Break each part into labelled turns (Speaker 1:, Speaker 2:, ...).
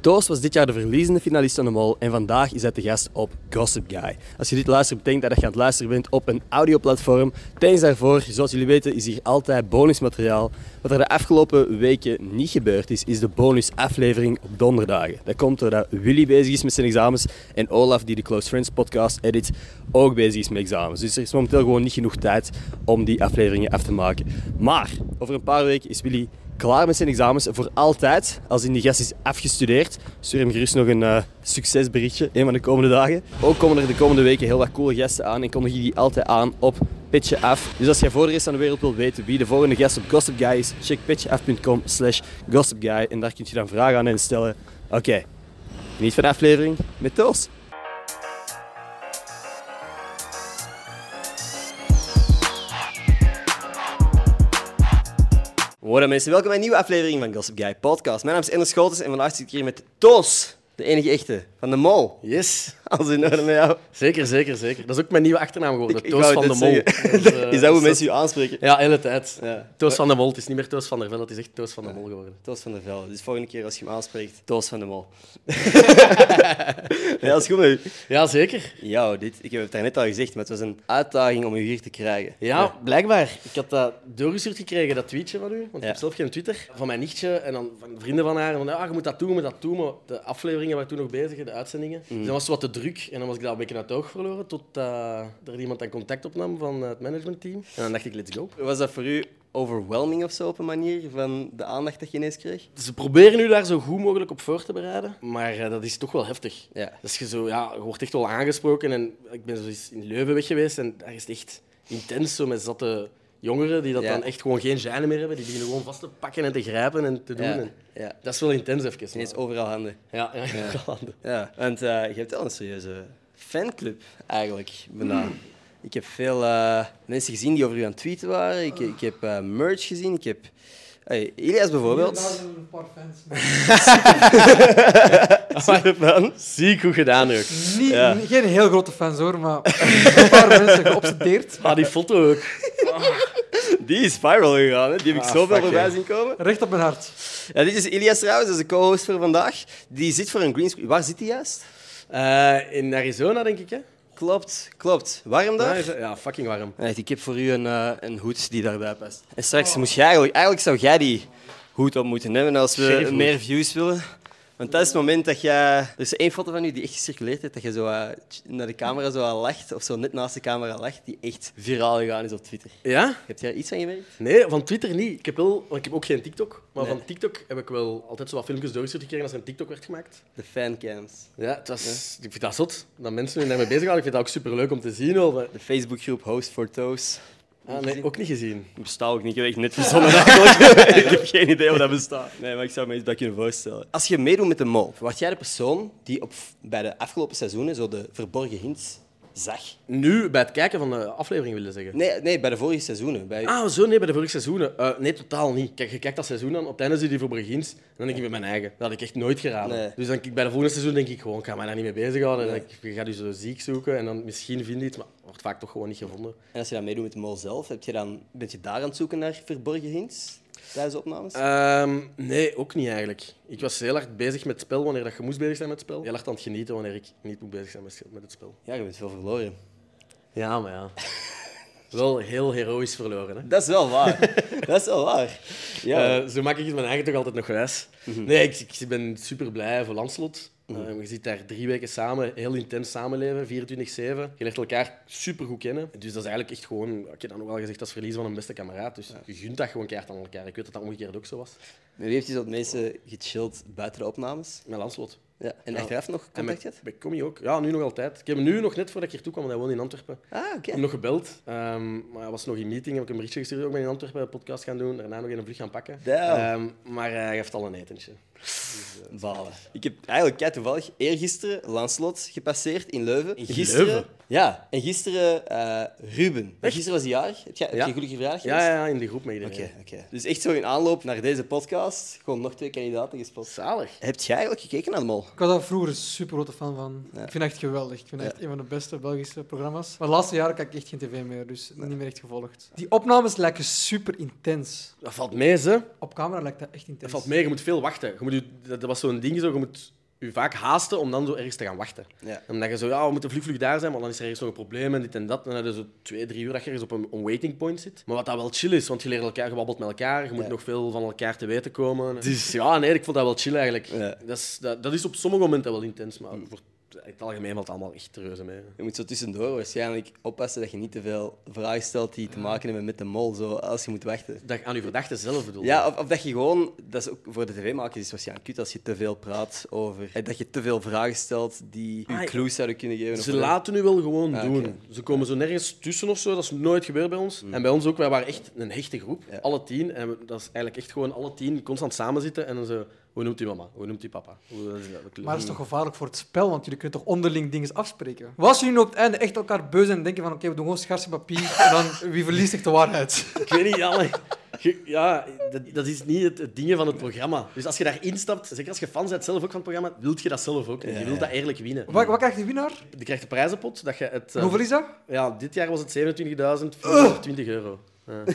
Speaker 1: Toast was dit jaar de verliezende finalist van de Mol en vandaag is hij te gast op Gossip Guy. Als je dit luistert, betekent dat je aan het luisteren bent op een audioplatform. Thanks daarvoor, zoals jullie weten, is hier altijd bonusmateriaal. Wat er de afgelopen weken niet gebeurd is, is de bonusaflevering op donderdagen. Dat komt doordat Willy bezig is met zijn examens en Olaf, die de Close Friends podcast edit, ook bezig is met examens. Dus er is momenteel gewoon niet genoeg tijd om die afleveringen af te maken. Maar over een paar weken is Willy klaar met zijn examens voor altijd. Als in die gast is afgestudeerd, stuur hem gerust nog een eh, succesberichtje. Een van de komende dagen. Ook komen er de komende weken heel wat coole gasten aan en kondig je die altijd aan op Pitje Af. Dus als jij voor de rest van de wereld wilt weten wie de volgende gast op Gossip Guy is, check pitjeaf.com slash gossipguy en daar kun je dan vragen aan hen stellen. Oké, niet van de aflevering met Toos. Hoi mensen, welkom bij een nieuwe aflevering van Gossip Guy Podcast. Mijn naam is Ender Schotens en vandaag zit ik hier met Toos, de enige echte van de Mol.
Speaker 2: Yes,
Speaker 1: Als in orde met jou.
Speaker 2: zeker, zeker, zeker. Dat is ook mijn nieuwe achternaam geworden,
Speaker 1: Ik- ik
Speaker 2: Toos
Speaker 1: wou
Speaker 2: van de
Speaker 1: net
Speaker 2: Mol.
Speaker 1: zeggen.
Speaker 2: Dat eh,
Speaker 1: Is dat hoe
Speaker 2: is
Speaker 1: mensen je aanspreken?
Speaker 2: Ja, hele tijd.
Speaker 1: Ja.
Speaker 2: Toos van de Mol, het is niet meer Toos van der Vel, het is echt Toos van de Mol geworden.
Speaker 1: Toos van der Velde. Dus volgende keer als je hem aanspreekt, Toos van de Mol. ja, dat is goed met u.
Speaker 2: Ja, zeker.
Speaker 1: Ja, dit, ik heb het daarnet al gezegd, maar het was een uitdaging om u hier te krijgen.
Speaker 2: Ja, blijkbaar. Ik had dat doorgestuurd gekregen, dat tweetje van u, want ik
Speaker 1: Ja.
Speaker 2: heb zelf geen Twitter. Van mijn nichtje en dan van vrienden van haar. En Van, ja, je moet dat doen, je moet dat doen. Maar de afleveringen waren toen nog bezig, de uitzendingen. Dus dan was het wat te druk en dan was ik daar een beetje uit het oog verloren. Tot eh, er iemand dan contact opnam van eh, het managementteam. En dan dacht ik, let's go.
Speaker 1: Was dat voor u overwhelming of zo op een manier van de aandacht dat je ineens kreeg?
Speaker 2: Ze proberen u daar zo goed mogelijk op voor te bereiden, maar eh, dat is toch wel heftig.
Speaker 1: Ja.
Speaker 2: Dus je, zo, ja, je wordt echt wel aangesproken. En ik ben zo eens in Leuven weg geweest en daar is het echt intens zo met zatte jongeren die dat
Speaker 1: Ja.
Speaker 2: dan echt gewoon geen gêne meer hebben. Die beginnen gewoon vast te pakken en te grijpen en te doen.
Speaker 1: Ja,
Speaker 2: En
Speaker 1: ja.
Speaker 2: Dat is wel intens even. maar-
Speaker 1: Ineens overal handen.
Speaker 2: Ja, ja, ja.
Speaker 1: Ja, want eh, je hebt wel een serieuze fanclub eigenlijk. bijna.
Speaker 2: Hmm.
Speaker 1: Ik heb veel eh, mensen gezien die over u aan het tweeten waren. Ik, ik heb eh, merch gezien. Ik heb hey, Elias bijvoorbeeld.
Speaker 3: een paar fans.
Speaker 1: Superfan.
Speaker 2: Ziek goed gedaan ook.
Speaker 3: Niet,
Speaker 1: Ja.
Speaker 3: niet- Geen heel grote fans hoor, maar een paar mensen geobsedeerd.
Speaker 2: Ah, die foto ook.
Speaker 1: Die is viral gegaan, hè? die heb ik
Speaker 2: Ah,
Speaker 1: zoveel
Speaker 2: fuck,
Speaker 1: voorbij
Speaker 2: hè.
Speaker 1: zien komen.
Speaker 3: Recht op mijn hart.
Speaker 1: Ja, dit is Ilias trouwens, dat is de co-host voor vandaag. Die zit voor een greenscreen. Waar zit hij juist?
Speaker 2: Eh, in Arizona, denk ik, hè?
Speaker 1: Klopt, klopt. Warm daar?
Speaker 2: Daar is- Ja, fucking warm.
Speaker 1: Echt, ik heb voor u een, eh, een hoed die daarbij past. En straks moest jij eigenlijk, eigenlijk zou jij die hoed op moeten hebben als we
Speaker 2: Sheriffhoed.
Speaker 1: meer views willen. Want dat is het moment dat jij. Er is één foto van u die echt gecirculeerd heeft, dat je zo eh, naar de camera zo aan lacht, of zo net naast de camera lacht, die echt viraal gegaan is op Twitter.
Speaker 2: Ja?
Speaker 1: Heb jij daar iets van gemerkt?
Speaker 2: Nee, van Twitter niet. Ik heb, wel, want ik heb ook geen TikTok. Maar
Speaker 1: Nee.
Speaker 2: van TikTok heb ik wel altijd zo wat filmpjes doorgestuurd gekregen als er een TikTok werd gemaakt.
Speaker 1: De fancams.
Speaker 2: Ja, het was, ik vind dat zot dat mensen hun daarmee bezig houden. Ik vind dat ook superleuk om te zien. Wel. maar-
Speaker 1: De Facebookgroep Host for Toes.
Speaker 2: Ah, nee, ook niet gezien.
Speaker 1: Dat bestaat ook niet. Ik heb echt net verzonnen eigenlijk. ik heb geen idee hoe dat bestaat. Nee, maar ik zou me iets bij kunnen voorstellen. Als je meedoet met de mol, was jij de persoon die op, bij de afgelopen seizoenen zo de verborgen hints zag?
Speaker 2: Nu, bij het kijken van de aflevering willen zeggen.
Speaker 1: Nee, nee bij de vorige seizoenen. Bij...
Speaker 2: Ah, zo, nee, bij de vorige seizoenen. Eh, nee, totaal niet. Kijk, je kijkt dat seizoen aan, op het einde zie je die voor begins. En dan denk ik bij mijn eigen. Dat had ik echt nooit geraden.
Speaker 1: Nee.
Speaker 2: Dus dan, denk ik, bij de volgende seizoen denk ik gewoon, ik ga mij daar niet mee bezighouden. En ik, je gaat je zo ziek zoeken en dan misschien vind je iets, maar wordt vaak toch gewoon niet gevonden.
Speaker 1: En als je dan meedoet met de mol zelf, heb je dan, ben je daar aan het zoeken naar verborgen hints tijdens de opnames?
Speaker 2: Ehm, nee, ook niet eigenlijk. Ik was heel hard bezig met het spel wanneer dat je moest bezig zijn met het spel. Heel hard aan het genieten wanneer ik niet moet bezig zijn met met het spel.
Speaker 1: Ja, je bent veel verloren.
Speaker 2: Ja, maar ja. wel heel heroïs verloren, hè?
Speaker 1: Dat is wel waar. dat is wel waar. Ja. Mhm.
Speaker 2: Eh, zo maak ik het mijn eigen toch altijd nog wijs. Nee, ik, ik ben super blij voor Landslot. Eh, je zit daar drie weken samen, heel intens samenleven, 24-7. Je leert elkaar super goed kennen. Dus dat is eigenlijk echt gewoon, ik heb dat nog wel gezegd, dat is verliezen van een beste kameraad. Dus je gunt dat gewoon keihard aan elkaar. Ik weet dat dat omgekeerd ook zo was.
Speaker 1: Wie heeft je zo het meeste gechilled buiten de opnames?
Speaker 2: Met Landslot.
Speaker 1: Ja. En
Speaker 2: Ja.
Speaker 1: achteraf nog
Speaker 2: En
Speaker 1: contact
Speaker 2: met,
Speaker 1: gehad?
Speaker 2: met Commie ook. Ja, nu nog altijd. Ik heb hem nu nog net voordat ik hier toe kwam, want hij woonde in Antwerpen.
Speaker 1: Ah, oké.
Speaker 2: Ik heb hem nog gebeld, ehm, maar hij was nog in meeting. Heb ik een berichtje gestuurd. Ik ben in Antwerpen een podcast gaan doen. Daarna nog in een vlucht gaan pakken.
Speaker 1: Damn.
Speaker 2: Ehm, maar hij heeft al een etentje.
Speaker 1: Balen. Ik heb eigenlijk kei toevallig eergisteren Lanslot gepasseerd in Leuven. En gisteren,
Speaker 2: Leuven?
Speaker 1: Ja, en gisteren eh, Ruben. En gisteren was hij jarig. Heb jij heb
Speaker 2: Ja.
Speaker 1: je een gelukkige vraag
Speaker 2: Ja, ja, ja, in de groep met iedereen.
Speaker 1: Oké, oké. Dus echt zo in aanloop naar deze podcast, gewoon nog twee kandidaten gespot.
Speaker 2: Zalig.
Speaker 1: Heb jij eigenlijk gekeken naar de mol?
Speaker 3: Ik was daar vroeger een super grote fan van. Ik vind het echt geweldig. Ik vind het echt een van de beste Belgische programma's. Maar de laatste jaren kijk ik echt geen tv meer, dus niet meer echt gevolgd. Die opnames lijken super intens.
Speaker 2: Dat valt mee, ze.
Speaker 3: Op camera lijkt dat echt
Speaker 2: Dat
Speaker 3: intens.
Speaker 2: valt mee. Je moet veel wachten. Je Je moet je, dat dat was zo'n ding, zo, je moet je vaak haasten om dan zo ergens te gaan wachten.
Speaker 1: Ja.
Speaker 2: Omdat je zo, ja, we moeten vlug, vlug daar zijn, maar dan is er ergens nog een probleem en dit en dat. En dan heb je zo twee, drie uur dat je ergens op een, een waiting point zit. Maar wat dat wel chill is, want je leert elkaar, je babbelt met elkaar, je moet
Speaker 1: Ja.
Speaker 2: nog veel van elkaar te weten komen. Dus ja, nee, ik vond dat wel chill eigenlijk.
Speaker 1: Ja.
Speaker 2: Dat, is, dat, dat is op sommige momenten wel intens, maar voor het algemeen valt het allemaal echt reuze mee.
Speaker 1: Je moet zo tussendoor waarschijnlijk oppassen dat je niet te veel vragen stelt die te maken hebben met de mol, zo, als je moet wachten.
Speaker 2: Dat je aan je verdachte zelf bedoelt.
Speaker 1: Ja, of, of dat je gewoon, dat is ook voor de tv-makers is het waarschijnlijk kut als je te veel praat over. en Dat je te veel vragen stelt die
Speaker 2: Ah,
Speaker 1: je
Speaker 2: ja.
Speaker 1: clues zouden kunnen geven.
Speaker 2: Ze
Speaker 1: of-
Speaker 2: laten u wel gewoon
Speaker 1: Ah,
Speaker 2: doen.
Speaker 1: oké. Hmm.
Speaker 2: Ze komen zo nergens tussen of zo. Dat is nooit gebeurd bij ons. En bij ons ook, wij waren echt een hechte groep.
Speaker 1: Ja.
Speaker 2: Alle tien. En we- dat is eigenlijk echt gewoon alle tien constant samen zitten. En dan zo, hoe noemt u mama? Hoe noemt u papa? Hoe, eh, dat is dat? Dat-
Speaker 3: Maar het is toch gevaarlijk voor het spel, want jullie kunnen toch onderling dingen afspreken? Wat als jullie nu op het einde echt elkaar beu zijn en denken van oké, we doen gewoon schaarse papier en dan wie verliest echt de waarheid?
Speaker 2: Ik weet niet, ja, maar- je- ja dat, dat is niet het, het ding van het programma. Dus als je daar instapt, zeker als je fan bent zelf ook van het programma, wil je dat zelf ook. niet.
Speaker 1: Ja,
Speaker 2: je wilt
Speaker 1: ja.
Speaker 2: dat eigenlijk winnen.
Speaker 3: Wat, wat krijgt de winnaar?
Speaker 2: Je krijgt de prijzenpot. Dat je het, eh,
Speaker 3: Hoeveel is dat?
Speaker 2: ja, dit jaar was het 27.420 euro. Ja.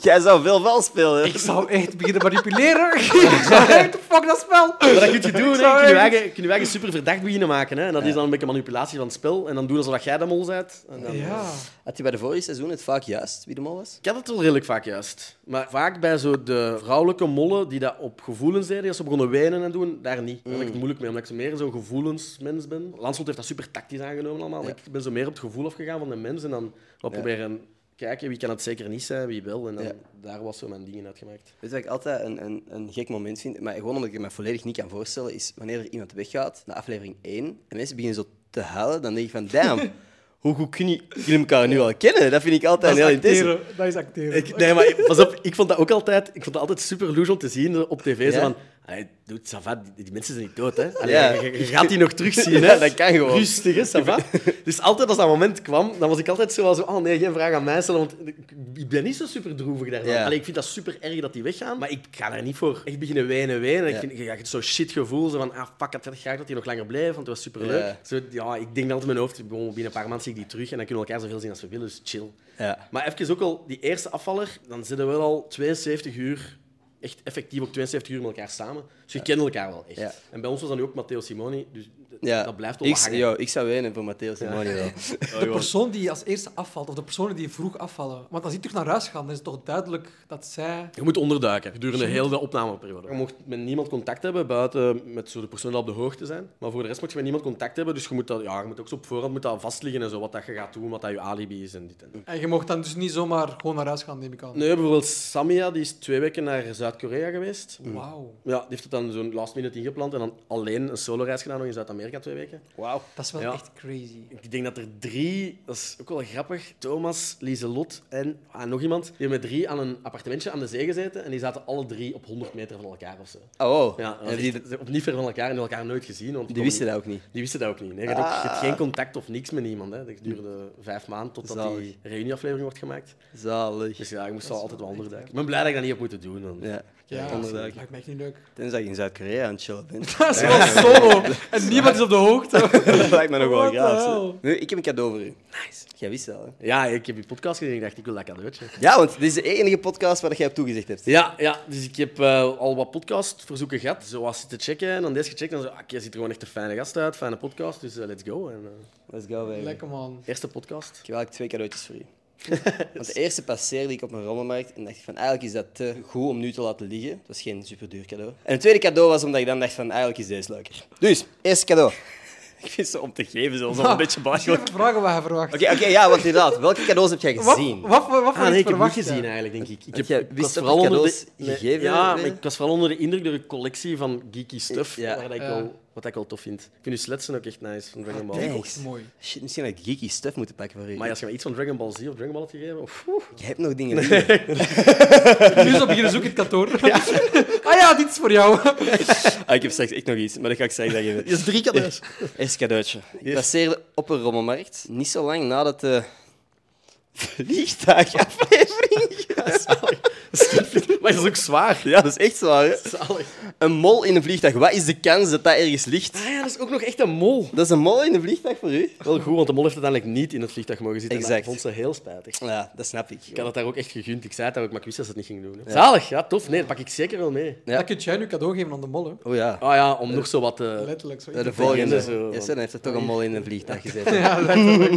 Speaker 1: Jij zou veel wel spelen.
Speaker 3: Ik zou echt beginnen manipuleren. Ik zou echt, fuck dat spel.
Speaker 2: Maar dat kun je doen, hè. Je
Speaker 3: Ik zou
Speaker 2: kunt je
Speaker 3: echt-
Speaker 2: eigen, je kunt je eigen super verdacht beginnen maken. Hè. En dat is dan een beetje manipulatie van het spel. En dan doen alsof jij de mol bent. En dan...
Speaker 3: Ja.
Speaker 1: Had je bij de vorige seizoen het vaak juist wie de mol was?
Speaker 2: Ik had het wel redelijk vaak juist. Maar vaak bij zo de vrouwelijke mollen die dat op gevoelens deden, die als ze begonnen wenen en doen, daar niet. Daar heb ik
Speaker 1: Mm.
Speaker 2: het moeilijk mee, omdat ik zo meer zo'n gevoelensmens ben. Lanslot heeft dat super tactisch aangenomen allemaal.
Speaker 1: Ja.
Speaker 2: Ik ben zo meer op het gevoel afgegaan van de mens en dan wat
Speaker 1: Ja.
Speaker 2: proberen kijken wie kan het zeker niet zijn, wie wel. En dan,
Speaker 1: Ja.
Speaker 2: daar was zo mijn dingen uitgemaakt.
Speaker 1: Weet je wat ik altijd een, een, een gek moment vind, maar gewoon omdat ik het me volledig niet kan voorstellen, is wanneer er iemand weggaat, na aflevering 1, en mensen beginnen zo te huilen, dan denk ik van, damn, hoe goed kun je jullie elkaar nu al kennen? Dat vind ik altijd
Speaker 3: Dat is
Speaker 1: heel intens.
Speaker 3: acteren. Dat is acteren.
Speaker 2: Ik, nee, maar ik- pas op, ik vond dat ook altijd, ik vond dat altijd super louche om te zien eh, op tv. Zo
Speaker 1: Ja?
Speaker 2: van, "Allee, dude, ça va, die, die mensen zijn niet dood, hè. Allee,
Speaker 1: Ja.
Speaker 2: je, je gaat die nog terugzien, hè.
Speaker 1: Ja, dat kan gewoon.
Speaker 2: Rustig, hè, ça va. Dus altijd als dat moment kwam, dan was ik altijd zo van zo, oh nee, geen vraag aan mij stellen, want ik- ik ben niet zo super droevig daarvan.
Speaker 1: Ja.
Speaker 2: Allee, ik vind dat super erg dat die weggaan, maar ik ga daar niet voor. Echt beginnen wenen, wenen. Ik
Speaker 1: Ja.
Speaker 2: vind, je krijgt zo'n shit gevoel, zo van, ah, fuck, ik had graag dat die nog langer bleef, want het was super leuk.
Speaker 1: Ja.
Speaker 2: Zo, ja, ik denk altijd in mijn hoofd, gewoon binnen een paar maanden zie ik die terug en dan kunnen we elkaar zoveel zien als we willen, dus chill.
Speaker 1: Ja.
Speaker 2: Maar even ook al die eerste afvaller, dan zitten we al 72 uur, echt effectief op 72 uur met elkaar samen. Dus je kent elkaar wel echt.
Speaker 1: Ja.
Speaker 2: En bij ons was dat nu ook Matteo Simoni, dus d-
Speaker 1: Ja.
Speaker 2: dat blijft wel
Speaker 1: ik,
Speaker 2: wat hangen.
Speaker 1: yo, ik zou wenen voor Matteo Simoni wel.
Speaker 3: De persoon die als eerste afvalt, of de personen die vroeg afvallen. Want als die terug naar huis gaan, dan is het toch duidelijk dat zij...
Speaker 2: Je moet onderduiken gedurende heel de opnameperiode. Je mocht met niemand contact hebben buiten met zo de personen die op de hoogte zijn. Maar voor de rest moet je met niemand contact hebben. Dus je moet, dat, ja, je moet ook zo op voorhand moet dat vastliggen en zo, wat dat je gaat doen, wat dat je alibi is en dit en dat.
Speaker 3: En je mocht dan dus niet zomaar gewoon naar huis gaan, neem ik aan.
Speaker 2: Nee, bijvoorbeeld Samia, die is twee weken naar Zuid-Korea geweest.
Speaker 3: Wauw.
Speaker 2: Ja, die heeft het dan zo'n last minute ingepland en dan alleen een solo-reis gedaan nog in Zuid-Amerika twee weken.
Speaker 1: Wauw.
Speaker 3: Dat is wel
Speaker 2: Ja.
Speaker 3: echt crazy.
Speaker 2: Ik denk dat er drie, dat is ook wel grappig, Thomas, Lieselot en ah, nog iemand, die hebben met drie aan een appartementje aan de zee gezeten en die zaten alle drie op 100 meter van elkaar of zo.
Speaker 1: Oh, wow.
Speaker 2: Ja,
Speaker 1: En die,
Speaker 2: die... op niet ver van elkaar en elkaar nooit gezien. Want
Speaker 1: die wisten dat Ah. ook niet.
Speaker 2: die wisten dat ook niet. Nee, je, hebt ook, je hebt geen contact of niks met niemand. Hè. Dat duurde vijf maanden totdat
Speaker 1: Zalig.
Speaker 2: die reunieaflevering wordt gemaakt.
Speaker 1: Zalig.
Speaker 2: Dus ja, ik moest wel altijd wel
Speaker 3: wel echt,
Speaker 2: onderduiken. Ik ben blij dat ik dat niet heb moeten doen. want-
Speaker 1: Ja,
Speaker 3: Ja, dat
Speaker 1: onderduiken.
Speaker 3: lijkt mij echt niet leuk.
Speaker 1: Tenzij je in Zuid-Korea aan het chillen bent.
Speaker 3: Dat is wel solo. En niemand is op de hoogte.
Speaker 1: dat lijkt me nog Oh, wel
Speaker 3: What the
Speaker 1: graag.
Speaker 3: hell?
Speaker 1: Nu, ik heb een cadeau voor u. Nice. Jij wist dat, hè?
Speaker 2: Ja, ik heb je podcast gezien en ik dacht, ik wil dat cadeautje.
Speaker 1: Ja, want dit is de enige podcast waar jij op toegezegd hebt.
Speaker 2: Ja, ja, dus ik heb eh, al wat podcastverzoeken gehad. Zo was te checken en dan deze gecheckt. En zo, ah, oké, ziet er gewoon echt een fijne gast uit, fijne podcast. Dus eh, let's go. En, eh,
Speaker 1: Let's go, baby.
Speaker 3: Lekker man.
Speaker 2: eerste podcast.
Speaker 1: Ik heb eigenlijk twee cadeautjes voor u. Want de eerste passeerde ik op mijn rommelmarkt en dacht ik van eigenlijk is dat te goed om nu te laten liggen. Dat is geen superduur cadeau. En het tweede cadeau was omdat ik dan dacht van eigenlijk is deze leuker. Dus, eerste cadeau. Ik vind ze om te geven zelfs al een beetje belachelijk.
Speaker 3: Even vragen wat je verwacht.
Speaker 1: Oké, oké, ja, want inderdaad. Welke cadeaus heb jij
Speaker 3: Wat,
Speaker 1: gezien?
Speaker 3: wat, wat, wat
Speaker 2: Ah, nee,
Speaker 3: voor iets
Speaker 2: ik heb niet
Speaker 3: verwacht eh?
Speaker 2: gezien
Speaker 3: jij?
Speaker 2: eigenlijk, denk ik. Ik,
Speaker 1: Want
Speaker 2: heb,
Speaker 1: jij
Speaker 2: ik
Speaker 1: wist
Speaker 2: was
Speaker 1: dat
Speaker 2: vooral
Speaker 1: er
Speaker 2: onder de-
Speaker 1: cadeaus gegeven
Speaker 2: Ja,
Speaker 1: werden?
Speaker 2: maar ik was vooral onder de indruk door de collectie van geeky stuff,
Speaker 1: Ja.
Speaker 2: waar dat ik
Speaker 3: Ja.
Speaker 2: wel, wat ik wel tof vind. Ik vind je sletsen ook echt nice van Dragon Ball.
Speaker 1: Thanks.
Speaker 3: Ook mooi.
Speaker 1: Shit, misschien had ik geeky stuff moeten pakken voor u.
Speaker 2: Maar als je mij iets van Dragon Ball Z of Dragon Ball hebt gegeven, oef, oef.
Speaker 1: Je hebt nog dingen liggen.
Speaker 3: Nu zo beginnen zoeken in het kantoor. Ah ja, dit is voor jou.
Speaker 1: Ah, ik heb straks echt nog iets, maar dat ga ik straks zeggen.
Speaker 2: is drie cadeaus.
Speaker 1: Eerst cadeautje. Ik passeerde op een rommelmarkt, niet zo lang nadat de vliegtuigaflevering was.
Speaker 2: maar Maar dat is ook zwaar.
Speaker 1: Ja, dat is echt zwaar. Hè?
Speaker 2: Zalig.
Speaker 1: Een mol in een vliegtuig. Wat is de kans dat dat ergens ligt?
Speaker 2: Ah ja, dat is ook nog echt een mol.
Speaker 1: Dat is een mol in een vliegtuig voor u?
Speaker 2: Wel goed, want de mol heeft uiteindelijk niet in het vliegtuig mogen zitten. En
Speaker 1: Exact.
Speaker 2: dat vond ze heel spijtig.
Speaker 1: Ja, dat snap ik.
Speaker 2: Ik had het daar ook echt gegund. Ik zei het daar ook, maar ik wist dat ze het niet ging doen. hè. Zalig, ja, tof. Nee, dat pak ik zeker wel mee.
Speaker 1: Ja.
Speaker 3: Dat kun jij nu cadeau geven aan de mollen.
Speaker 1: Oh ja.
Speaker 2: Ah ja, om nog zo wat te...
Speaker 3: Letterlijk. Zo
Speaker 1: Ja, eh, de
Speaker 2: legende
Speaker 1: volgende.
Speaker 2: zo,
Speaker 1: Ja,
Speaker 2: want-
Speaker 1: zo, dan heeft er toch een mol in een vliegtuig gezeten.
Speaker 2: Ga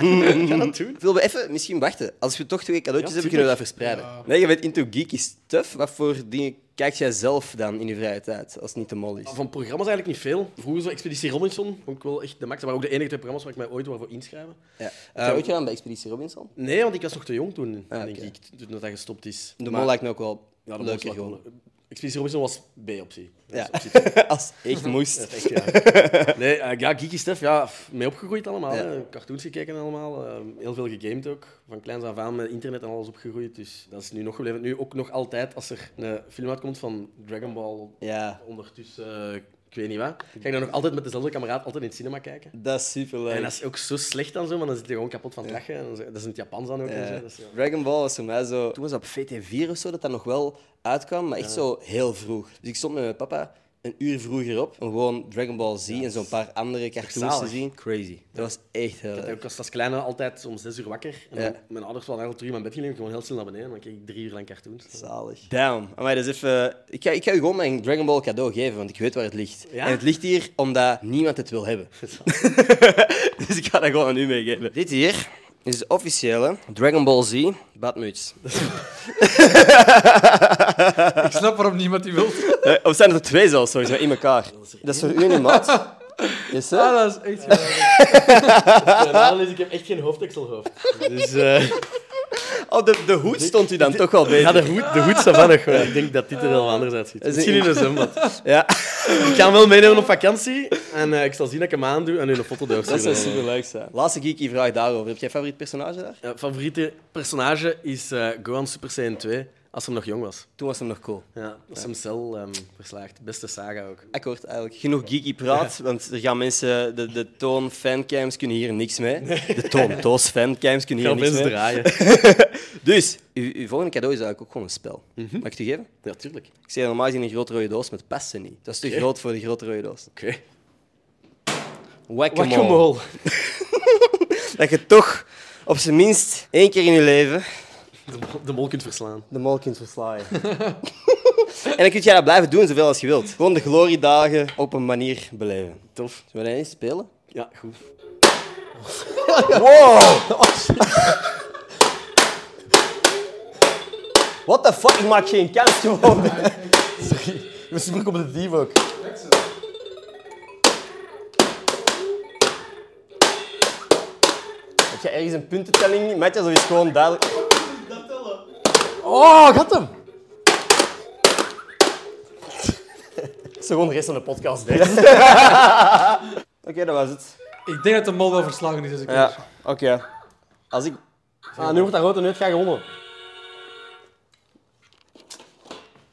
Speaker 2: dat doen.
Speaker 1: Willen we even misschien wachten? Als we toch twee cadeautjes
Speaker 2: Ja,
Speaker 1: hebben,
Speaker 2: tuurlijk.
Speaker 1: kunnen we dat verspreiden. Nee, je bent into geeky stuff. Wat voor dingen kijk jij zelf dan in je vrije tijd, als het niet de mol is?
Speaker 2: Van programma's eigenlijk niet veel. Vroeger zo Expeditie Robinson, ook wel echt de max. Maar ook de enige twee programma's waar ik mij ooit wou voor inschrijven.
Speaker 1: Ja. Ehm, Heb jij ooit gedaan bij Expeditie Robinson?
Speaker 2: Nee, want ik was nog te jong toen,
Speaker 1: Ah,
Speaker 2: denk
Speaker 1: oké.
Speaker 2: ik, toen dat dat gestopt is.
Speaker 1: De
Speaker 2: Maar-
Speaker 1: mol lijkt me ook wel
Speaker 2: Ja, de mol
Speaker 1: leuker
Speaker 2: slaat
Speaker 1: gewoon.
Speaker 2: wel. Expeditie Robinson was B-optie. Dat
Speaker 1: Ja.
Speaker 2: is optie twee.
Speaker 1: Als het echt moest.
Speaker 2: Echt, ja. Nee, eh, ja, Geeky Stuff, ja, f- mee opgegroeid allemaal.
Speaker 1: Ja.
Speaker 2: hè. Cartoons gekeken allemaal. eh, heel veel gegamed ook. Van kleins af aan met internet en alles opgegroeid. Dus dat is nu nog gebleven. Nu ook nog altijd, als er een film uitkomt van Dragon Ball,
Speaker 1: Ja,
Speaker 2: ondertussen, eh, ik weet niet wat, ga ik dan nog altijd met dezelfde kameraad altijd in het cinema kijken.
Speaker 1: dat is superleuk.
Speaker 2: En dat is ook zo slecht dan zo, maar dan zit je gewoon kapot van het lachen. En dan zo- dat is in het Japans dan ook.
Speaker 1: Ja.
Speaker 2: en zo. Dat is, ja.
Speaker 1: Dragon Ball was voor mij zo. Toen was dat op VT4 of zo dat dat nog wel uitkwam, maar echt zo heel vroeg. Dus ik stond met mijn papa een uur vroeger op om gewoon Dragon Ball Z en zo'n paar andere cartoons te
Speaker 2: zalig.
Speaker 1: zien. Crazy. Dat was echt heel.
Speaker 2: Ja, Ik was als kleine altijd om zes uur wakker. En dan-
Speaker 1: Ja.
Speaker 2: Mijn ouders waren eigenlijk terug in mijn bed gelegen, gewoon heel snel naar beneden. En dan keek ik drie uur lang cartoons.
Speaker 1: Zalig. Damn. Amai, dat is even... ik, ga, ik ga u gewoon mijn Dragon Ball cadeau geven, want ik weet waar het ligt.
Speaker 2: Ja?
Speaker 1: En het ligt hier omdat niemand het wil hebben. dus ik ga dat gewoon aan u meegeven. Dit hier is de officiële Dragon Ball Z badmuts.
Speaker 3: Ik snap waarom niemand die wil.
Speaker 1: Eh, of zijn er twee zelfs sowieso in elkaar? Dat is voor u niet, maat. Is dat?
Speaker 3: Ah, dat is echt geweldig.
Speaker 2: Ja, dus ik heb echt geen hoofdekselhoofd. Dus eh
Speaker 1: Oh, de, de hoed stond u dan toch wel
Speaker 2: ja,
Speaker 1: bezig.
Speaker 2: de hoed, de hoed is ervan nog wel. Ik denk dat dit er wel anders uitziet.
Speaker 1: is
Speaker 2: Misschien
Speaker 1: een-
Speaker 2: in een zwembad.
Speaker 1: Ja,
Speaker 2: Ik ga hem wel meenemen op vakantie. En eh, ik zal zien dat ik hem aandoe en u een foto
Speaker 1: dat
Speaker 2: doorsturen.
Speaker 1: zou superleuk zijn. Laatste geeky vraag daarover. Heb jij favoriet personage daar?
Speaker 2: Ja, favoriete personage is eh, Gohan Super Saiyan 2, als hij nog jong was.
Speaker 1: Toen was hem nog cool.
Speaker 2: Ja, als hem cel ehm, verslaagt. Beste saga ook.
Speaker 1: Akkoord, eigenlijk. Genoeg geeky praat, want er gaan mensen... De, de toon fancams kunnen hier niks mee. De toon toos fancams kunnen
Speaker 2: Ik ga
Speaker 1: hier
Speaker 2: op
Speaker 1: niks
Speaker 2: eens
Speaker 1: mee.
Speaker 2: draaien.
Speaker 1: Dus, uw, uw volgende cadeau is eigenlijk ook gewoon een spel. Mag ik het u geven?
Speaker 2: Ja, tuurlijk.
Speaker 1: Ik zei normaal gezien een grote rode doos, maar het past er niet. Dat is te groot voor de grote rode doos.
Speaker 2: Oké.
Speaker 1: Whack-a-mole. Dat je toch op zijn minst één keer in je leven
Speaker 2: De, mol- de mol kunt verslaan.
Speaker 1: de mol kunt verslaan. en dan kun jij dat blijven doen zoveel als je wilt. Gewoon de gloriedagen op een manier beleven.
Speaker 2: Tof.
Speaker 1: Zullen we dat eens spelen?
Speaker 2: Ja, goed.
Speaker 1: Wow! What the fuck? Ik maak geen kans gewoon. Sorry. Ik ben super competitief ook. Heb je ergens een puntentelling? Matjas, dat is gewoon duidelijk. Oh, ik had hem! Het is gewoon de rest van de podcast, deze. Oké, dat was het.
Speaker 3: Ik denk dat de mol wel verslagen is deze keer.
Speaker 1: Ja, oké. Als ik... Ah, nu wordt dat rood en nu heeft jij gewonnen.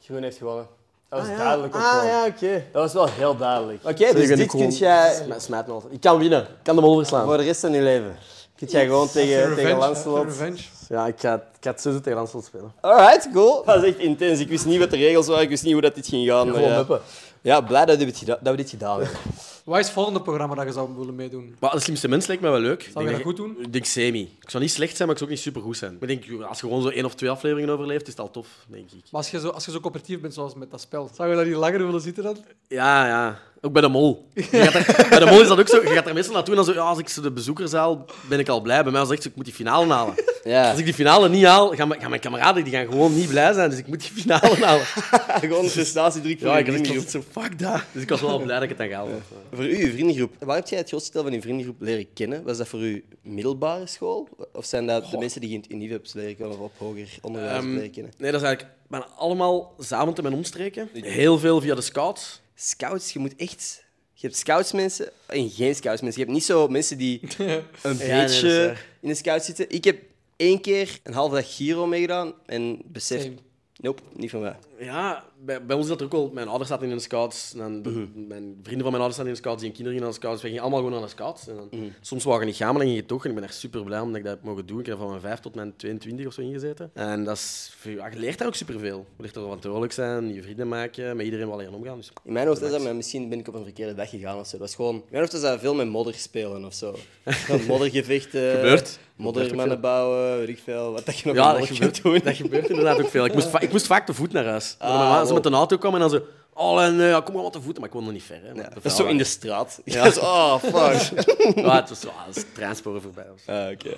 Speaker 1: Groen heeft gewonnen. Dat was duidelijk ook gewoon.
Speaker 2: oké.
Speaker 1: Dat was wel heel duidelijk. Oké, dus
Speaker 2: ben
Speaker 1: dit
Speaker 2: ik gewoon-
Speaker 1: kun jij Ah.
Speaker 2: Sma- Smijt me altijd. Ik kan winnen. Ik kan de mol verslaan.
Speaker 1: voor de rest van je leven. Kun jij gewoon tegen, tegen
Speaker 3: Revenge, hè,
Speaker 1: Lancelot...
Speaker 3: Revenge.
Speaker 2: Ja, ik ga, ik ga het zo tegen Lancelot spelen.
Speaker 1: Alright, cool. Dat is echt intens. Ik wist niet wat de regels waren, ik wist niet hoe dat dit ging gaan. Maar
Speaker 2: Gewoon
Speaker 1: ja.
Speaker 2: meppen.
Speaker 1: ja, blij dat we dit geda- dat we dit gedaan hebben.
Speaker 3: Wat is het volgende programma dat je zou willen meedoen?
Speaker 2: Maar de slimste mens lijkt me wel leuk. Ik
Speaker 3: Zou
Speaker 2: denk
Speaker 3: je dat
Speaker 2: je-
Speaker 3: goed doen?
Speaker 2: Ik denk semi. Ik zou niet slecht zijn, maar ik zou ook niet supergoed zijn. Maar ik denk, als je gewoon zo één of twee afleveringen overleeft, is het al tof, denk ik.
Speaker 3: Maar als je zo, als je zo coöperatief bent, zoals met dat spel, zou je daar niet langer willen zitten dan?
Speaker 2: Ja, ja. Ook bij de mol. Je gaat er- bij de mol is dat ook zo. Je gaat er meestal naartoe en dan zo, ja, als ik zo de bezoekerszaal, ben ik al blij. Bij mij was het echt zo, ik moet die finale halen.
Speaker 1: Ja,
Speaker 2: Als ik die finale niet haal, gaan mijn, gaan mijn kameraden die gaan gewoon niet blij zijn. Dus ik moet die finale halen.
Speaker 1: gewoon een prestatiedruk voor
Speaker 2: Ja,
Speaker 1: je
Speaker 2: ik was echt
Speaker 1: vriendengroep.
Speaker 2: altijd zo, fuck dat. Dus ik was wel blij dat ik het dan gehaald heb.
Speaker 1: Voor u, uw vriendengroep. Waar heb jij het grootste deel van uw vriendengroep leren kennen? Was dat voor uw middelbare school? Of zijn dat de mensen die je in het unief hebt leren kennen of op hoger onderwijs hebt
Speaker 2: Ehm,
Speaker 1: leren kennen?
Speaker 2: Nee, dat is eigenlijk bijna allemaal samen te mijn omstreken. Heel veel via de scouts.
Speaker 1: Scouts, je moet echt... Je hebt scoutsmensen en geen scoutsmensen. Je hebt niet zo mensen die een
Speaker 2: nee, dat is
Speaker 1: beetje
Speaker 2: waar.
Speaker 1: in de scout zitten. Ik heb één keer een halve dag Giro meegedaan en besef...
Speaker 3: Same.
Speaker 1: Nope, niet van mij.
Speaker 2: Ja, bij, bij ons is dat ook wel. Mijn ouders zaten in een scouts. En dan de- Mijn vrienden van mijn ouders zaten in een scouts. Die hun kinderen gingen naar de scouts. Wij gingen allemaal gewoon naar de scouts. En dan, Soms wou je niet gaan, maar dan ging je toch. En ik ben echt super blij omdat ik dat heb mogen doen. Ik heb van mijn 5 tot mijn 22 of zo ingezeten. En dat is, ja, je leert daar ook superveel. Je leert er verantwoordelijk zijn, je vrienden maken, met iedereen wel leren omgaan. Dus
Speaker 1: In mijn hoofd is dat, maar misschien ben ik op een verkeerde weg gegaan of zo. Dat was gewoon, in mijn hoofd is dat veel met modder spelen of zo. Van moddergevechten.
Speaker 2: Gebeurt. Gebeurt ook
Speaker 1: Moddermannen
Speaker 2: veel.
Speaker 1: bouwen, weet ik veel. Wat dat je nog
Speaker 2: ja,
Speaker 1: ja,
Speaker 2: dat
Speaker 1: modder kunt
Speaker 2: gebeurt,
Speaker 1: doen.
Speaker 2: dat gebeurt inderdaad ook veel. Ik moest, va- ik moest vaak te voet naar huis.
Speaker 1: Ah,
Speaker 2: Mijn ma- Ze
Speaker 1: wow.
Speaker 2: met een auto kwam en dan zo... Oh, en, eh, ja, kom maar wat te voeten. Maar ik woon nog niet ver. Hè, Want
Speaker 1: Ja, dat is zo in de straat. Ja,
Speaker 2: Ja.
Speaker 1: zo, oh, fuck.
Speaker 2: Ja, het was, ah, het is treinsporen voorbij. of zo.
Speaker 1: Ah, Oké.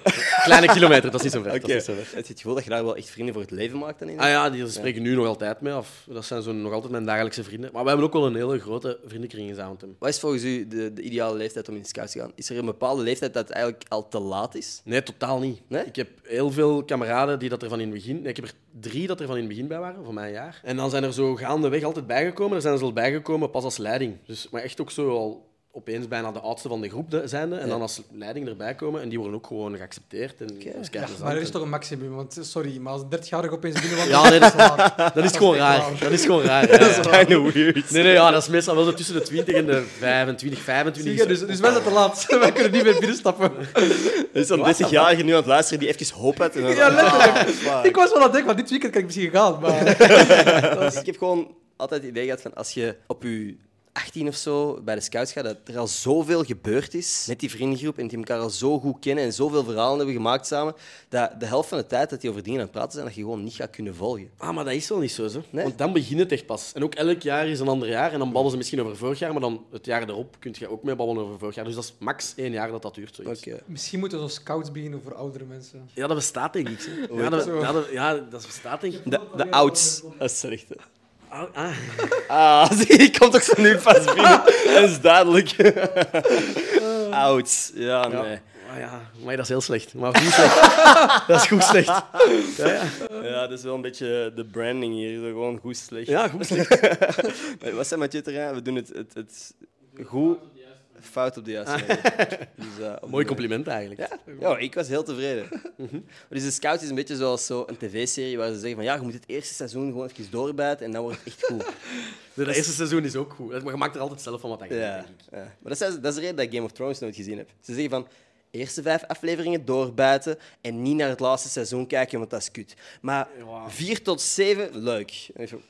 Speaker 2: Kleine kilometer, dat is niet zo ver. dat is
Speaker 1: Oké.
Speaker 2: niet zo ver.
Speaker 1: Heb je het gevoel dat je daar wel echt vrienden voor het leven maakt dan in?
Speaker 2: Ah ja, die spreken nu nog altijd mee af. Dat zijn zo nog altijd mijn dagelijkse vrienden. Maar we hebben ook wel een hele grote vriendenkring in Zaventem.
Speaker 1: Wat is volgens u de, de ideale leeftijd om in de scouts te gaan? Is er een bepaalde leeftijd dat het eigenlijk al te laat is?
Speaker 2: Nee, totaal niet.
Speaker 1: Nee?
Speaker 2: Ik heb heel veel kameraden die dat er van in het begin... Nee, ik heb er drie dat er van in het begin bij waren, van mijn jaar. En dan zijn er zo gaandeweg altijd bijgekomen. Er zijn ze al bijgekomen pas als leiding. Dus, maar echt ook zo al opeens bijna de oudste van de groep de- zijnde. En
Speaker 1: Ja.
Speaker 2: dan als leiding erbij komen. En die worden ook gewoon geaccepteerd. En dat is
Speaker 3: Ja,
Speaker 2: keiplezant.
Speaker 3: maar er
Speaker 2: En-
Speaker 3: is toch een maximum, want eh, sorry, maar als 30-jarige opeens binnenwandelt,
Speaker 2: Ja, nee, dat-
Speaker 3: dat is waar.
Speaker 2: Dat is gewoon
Speaker 3: Dat is echt
Speaker 2: raar.
Speaker 3: waar.
Speaker 2: Dat is gewoon raar. ja, ja.
Speaker 1: Kinda weird.
Speaker 2: Nee, nee, ja, dat is meestal wel zo tussen de 20 en de 25, 25.
Speaker 3: Zie je, dus, dus wij zijn te laat. wij kunnen niet meer binnenstappen.
Speaker 1: Er is een 30-jarige nu aan het luisteren die even hoop had. En dan-
Speaker 3: Ja, letterlijk.
Speaker 1: Ah, fuck.
Speaker 3: Ik was wel aan het denken, van dit weekend kan ik misschien gaan, maar...
Speaker 1: Dus ik heb gewoon altijd het idee gehad van als je op je 18 of zo bij de scouts gaat, dat er al zoveel gebeurd is met die vriendengroep en die elkaar al zo goed kennen en zoveel verhalen hebben gemaakt samen, dat de helft van de tijd dat die over dingen aan het praten zijn, dat je gewoon niet gaat kunnen volgen.
Speaker 2: Ah, maar dat is wel niet zo, zo.
Speaker 1: Nee?
Speaker 2: Want dan begint het echt pas. En ook elk jaar is een ander jaar. En dan babbelen ze misschien over vorig jaar, maar dan het jaar erop kun je ook mee babbelen over vorig jaar. Dus dat is max één jaar dat dat duurt. Zoiets.
Speaker 3: Misschien moeten we zo scouts beginnen voor oudere mensen.
Speaker 2: Ja, dat bestaat denk ik. zo. Ja, dat,
Speaker 3: Zo.
Speaker 2: ja, dat, ja, dat bestaat denk ik.
Speaker 1: De, de ouds. Dat is slecht. hè.
Speaker 2: Ah, ah.
Speaker 1: Ah, zie, ik kom toch zo nu pas binnen. Dat is duidelijk. Ouds. Ja,
Speaker 2: Ja.
Speaker 1: nee.
Speaker 2: Ah, ja. Maar dat is heel slecht. Maar goed slecht. dat is goed slecht.
Speaker 1: Ja, dat is wel een beetje de branding hier. Zo Gewoon goed, slecht.
Speaker 2: Ja, goed slecht.
Speaker 1: Wat zijn met je terrein? We doen het, het, het goed. Fout op de juiste manier. Dus, eh, op
Speaker 2: Mooi
Speaker 1: die manier.
Speaker 2: compliment eigenlijk.
Speaker 1: Ja, ik was heel tevreden. dus de Scout is een beetje zoals zo een tv-serie waar ze zeggen van ja, je moet het eerste seizoen gewoon even doorbijten en dan wordt het echt goed.
Speaker 2: Nee, dat eerste seizoen is ook goed. Maar je maakt er altijd zelf van wat aan.
Speaker 1: ja.
Speaker 2: Ja.
Speaker 1: ja. Maar dat is, dat is de reden dat ik Game of Thrones nooit gezien heb. Ze zeggen van eerste vijf afleveringen doorbijten en niet naar het laatste seizoen kijken, want dat is kut. Maar
Speaker 2: Ja.
Speaker 1: vier tot zeven, leuk. En ik zo,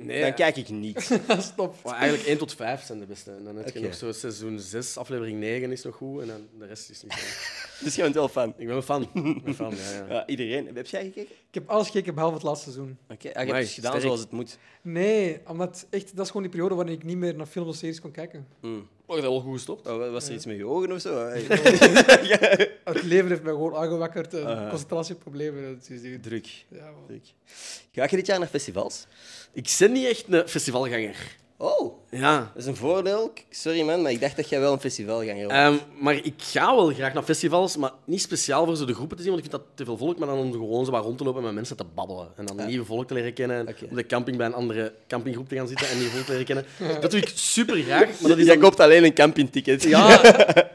Speaker 2: Nee,
Speaker 1: Dan kijk ik niet.
Speaker 3: Stop.
Speaker 2: Maar eigenlijk 1 tot 5 zijn de beste. En dan heb je
Speaker 1: Oké.
Speaker 2: nog zo seizoen 6, aflevering 9 is nog goed. En dan de rest is niet goed.
Speaker 1: dus jij bent wel fan.
Speaker 2: Ik ben een fan. Ik ben fan, ja, ja.
Speaker 1: Ja, iedereen. Heb jij gekeken?
Speaker 3: Ik heb alles gekeken behalve het laatste seizoen.
Speaker 1: Oké, ah, je hebt
Speaker 2: Amai,
Speaker 1: het gedaan
Speaker 2: sterk.
Speaker 1: zoals het moet.
Speaker 3: Nee, omdat echt, dat is gewoon die periode waarin ik niet meer naar films of series kon kijken.
Speaker 2: Maar je hebt wel goed gestopt.
Speaker 1: Oh, wa- was er iets met je ogen of zo? Hey.
Speaker 3: Het leven heeft mij gewoon aangewakkerd. en
Speaker 2: Ah.
Speaker 3: Concentratieproblemen. Dat is echt-
Speaker 1: Druk.
Speaker 3: ja, man.
Speaker 1: Druk. Ga je dit jaar naar festivals?
Speaker 2: Ik ben niet echt een festivalganger.
Speaker 1: Oh,
Speaker 2: Ja.
Speaker 1: dat is een voordeel. K- Sorry man, maar ik dacht dat jij wel een festivalganger was.
Speaker 2: Ehm, maar ik ga wel graag naar festivals, maar niet speciaal voor zo de groepen te zien, want ik vind dat te veel volk, maar dan om gewoon zo wat rond te lopen en met mensen te babbelen. En dan nieuwe volk te leren kennen, en
Speaker 1: Oké.
Speaker 2: op de camping bij een andere campinggroep te gaan zitten en nieuwe volk te leren kennen. Dat doe ik super graag, maar dat is
Speaker 1: jij
Speaker 2: dan-
Speaker 1: koopt alleen een campingticket.
Speaker 2: Ja,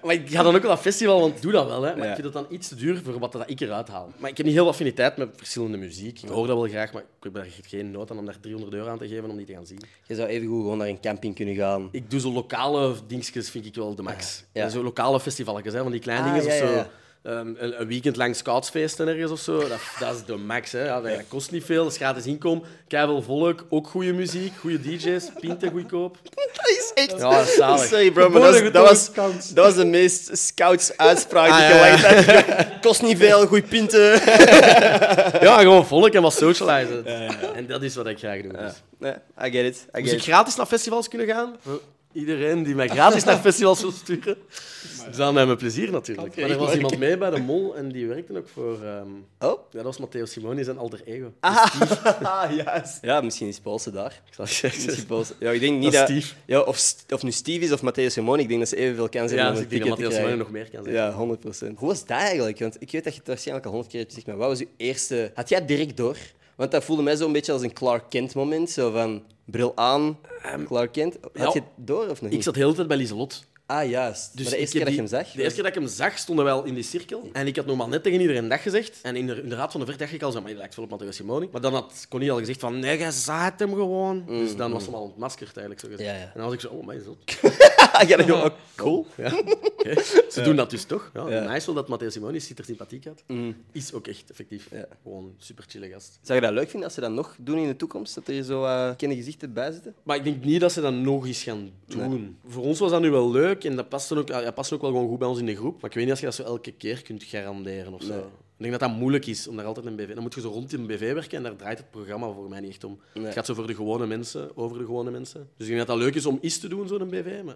Speaker 2: maar ik ga dan ook wel naar festival, want ik doe dat wel. Hè. Maar
Speaker 1: Ja.
Speaker 2: ik vind dat dan iets te duur voor wat dat ik eruit haal. Maar ik heb niet heel veel affiniteit met verschillende muziek. Ik hoor dat wel graag, maar ik heb daar geen nood aan om daar 300 euro aan te geven om die te gaan zien.
Speaker 1: Je zou evengoed gewoon naar een camping kunnen gaan.
Speaker 2: Ik doe zo lokale dingetjes, vind ik wel de max.
Speaker 1: Ja.
Speaker 2: Zo lokale festivalletjes, hè, van die kleine
Speaker 1: Ah,
Speaker 2: dingen
Speaker 1: ja,
Speaker 2: of zo.
Speaker 1: ja, ja.
Speaker 2: Ehm, een, een weekend lang scoutsfeesten ergens of zo. Dat, dat is de max. Hè. Ja, dat, dat kost niet veel, dat is gratis inkomen. Keiveel volk, ook goede muziek, goede DJ's, pinten goedkoop.
Speaker 1: Dat is echt...
Speaker 2: Ja, dat is zalig.
Speaker 1: Sorry bro, maar dat was,
Speaker 3: Geboren
Speaker 1: dat, was,
Speaker 3: getoond scouts.
Speaker 1: dat was de meest scouts-uitspraak die
Speaker 2: Ah,
Speaker 1: ik
Speaker 2: ja,
Speaker 1: al lang heb. Kost niet veel, goeie pinten.
Speaker 2: Ja, gewoon volk en wat socializen. En dat is wat ik graag doe. dus.
Speaker 1: Nee, I get it. I
Speaker 2: Moest
Speaker 1: get
Speaker 2: ik
Speaker 1: it.
Speaker 2: gratis naar festivals kunnen gaan? Voor iedereen die mij gratis naar festivals wil sturen. Dan met mijn plezier natuurlijk.
Speaker 1: Oké,
Speaker 2: maar er was
Speaker 1: leuk.
Speaker 2: iemand mee bij de mol en die werkte ook voor... ehm,
Speaker 1: Oh,
Speaker 2: ja, dat was Matteo Simoni, zijn alter ego.
Speaker 1: juist. Ja, misschien is Paulse daar.
Speaker 2: Ik zal je zeggen.
Speaker 1: Misschien Paulse. Ja, ik denk niet
Speaker 2: Dat is
Speaker 1: dat...
Speaker 2: Steve.
Speaker 1: Ja, of, St- of nu Steve is of Matthäus Simon, ik denk dat ze evenveel kans hebben
Speaker 2: Ja,
Speaker 1: om
Speaker 2: dus
Speaker 1: een
Speaker 2: ik denk
Speaker 1: ticket
Speaker 2: dat
Speaker 1: te
Speaker 2: Matteo Simoni
Speaker 1: krijgen.
Speaker 2: nog meer kan
Speaker 1: Ja,
Speaker 2: zeggen.
Speaker 1: 100%. Hoe was dat eigenlijk? Want ik weet dat je het waarschijnlijk al honderd keer hebt gezegd, maar wat was je eerste... Had jij direct door Want dat voelde mij zo'n beetje als een Clark Kent moment. Zo van bril aan, Clark Kent. Had
Speaker 2: Ehm, ja.
Speaker 1: je het door of nog
Speaker 2: Ik
Speaker 1: niet?
Speaker 2: zat de hele tijd bij Lieselot.
Speaker 1: Ah, juist.
Speaker 2: Dus
Speaker 1: maar de eerste
Speaker 2: ik
Speaker 1: keer
Speaker 2: heb
Speaker 1: dat je hem
Speaker 2: die-
Speaker 1: zag?
Speaker 2: De eerste keer dat ik hem zag, stonden wij al in die cirkel. En ik had normaal net tegen iedereen dag gezegd. En inder- inderdaad, van de ver dacht ik al zo, maar je lijkt veel op Matthias Simoni. Maar dan had Connie al gezegd van, nee, jij zaait hem gewoon. Dus dan was hem al ontmaskerd, eigenlijk, zo gezegd.
Speaker 1: Ja, ja.
Speaker 2: En dan was ik zo, oh, mijn zot.
Speaker 1: Ah, ja, dat gewoon ook.
Speaker 2: Cool. Ja. Oké. Ze doen dat dus toch. Ja, Nice wel dat Matthias Simoni ziet er sympathiek uit. Is ook echt effectief.
Speaker 1: Ja.
Speaker 2: Gewoon super chille gast.
Speaker 1: Zou je dat leuk vinden als ze dat nog doen in de toekomst? Dat er zo eh kende gezichten bij zitten?
Speaker 2: Maar ik denk niet dat ze dat nog eens gaan doen. Voor ons was dat nu wel leuk en dat past, ook, ja, dat past ook wel gewoon goed bij ons in de groep. Maar ik weet niet of je dat zo elke keer kunt garanderen of zo. Ik denk dat dat moeilijk is om daar altijd een BV. Dan moet je zo rond in een BV werken en daar draait het programma voor mij niet echt om.
Speaker 1: Nee.
Speaker 2: Het gaat zo voor de gewone mensen, over de gewone mensen. Dus ik denk dat dat leuk is om iets te doen, zo'n BV, maar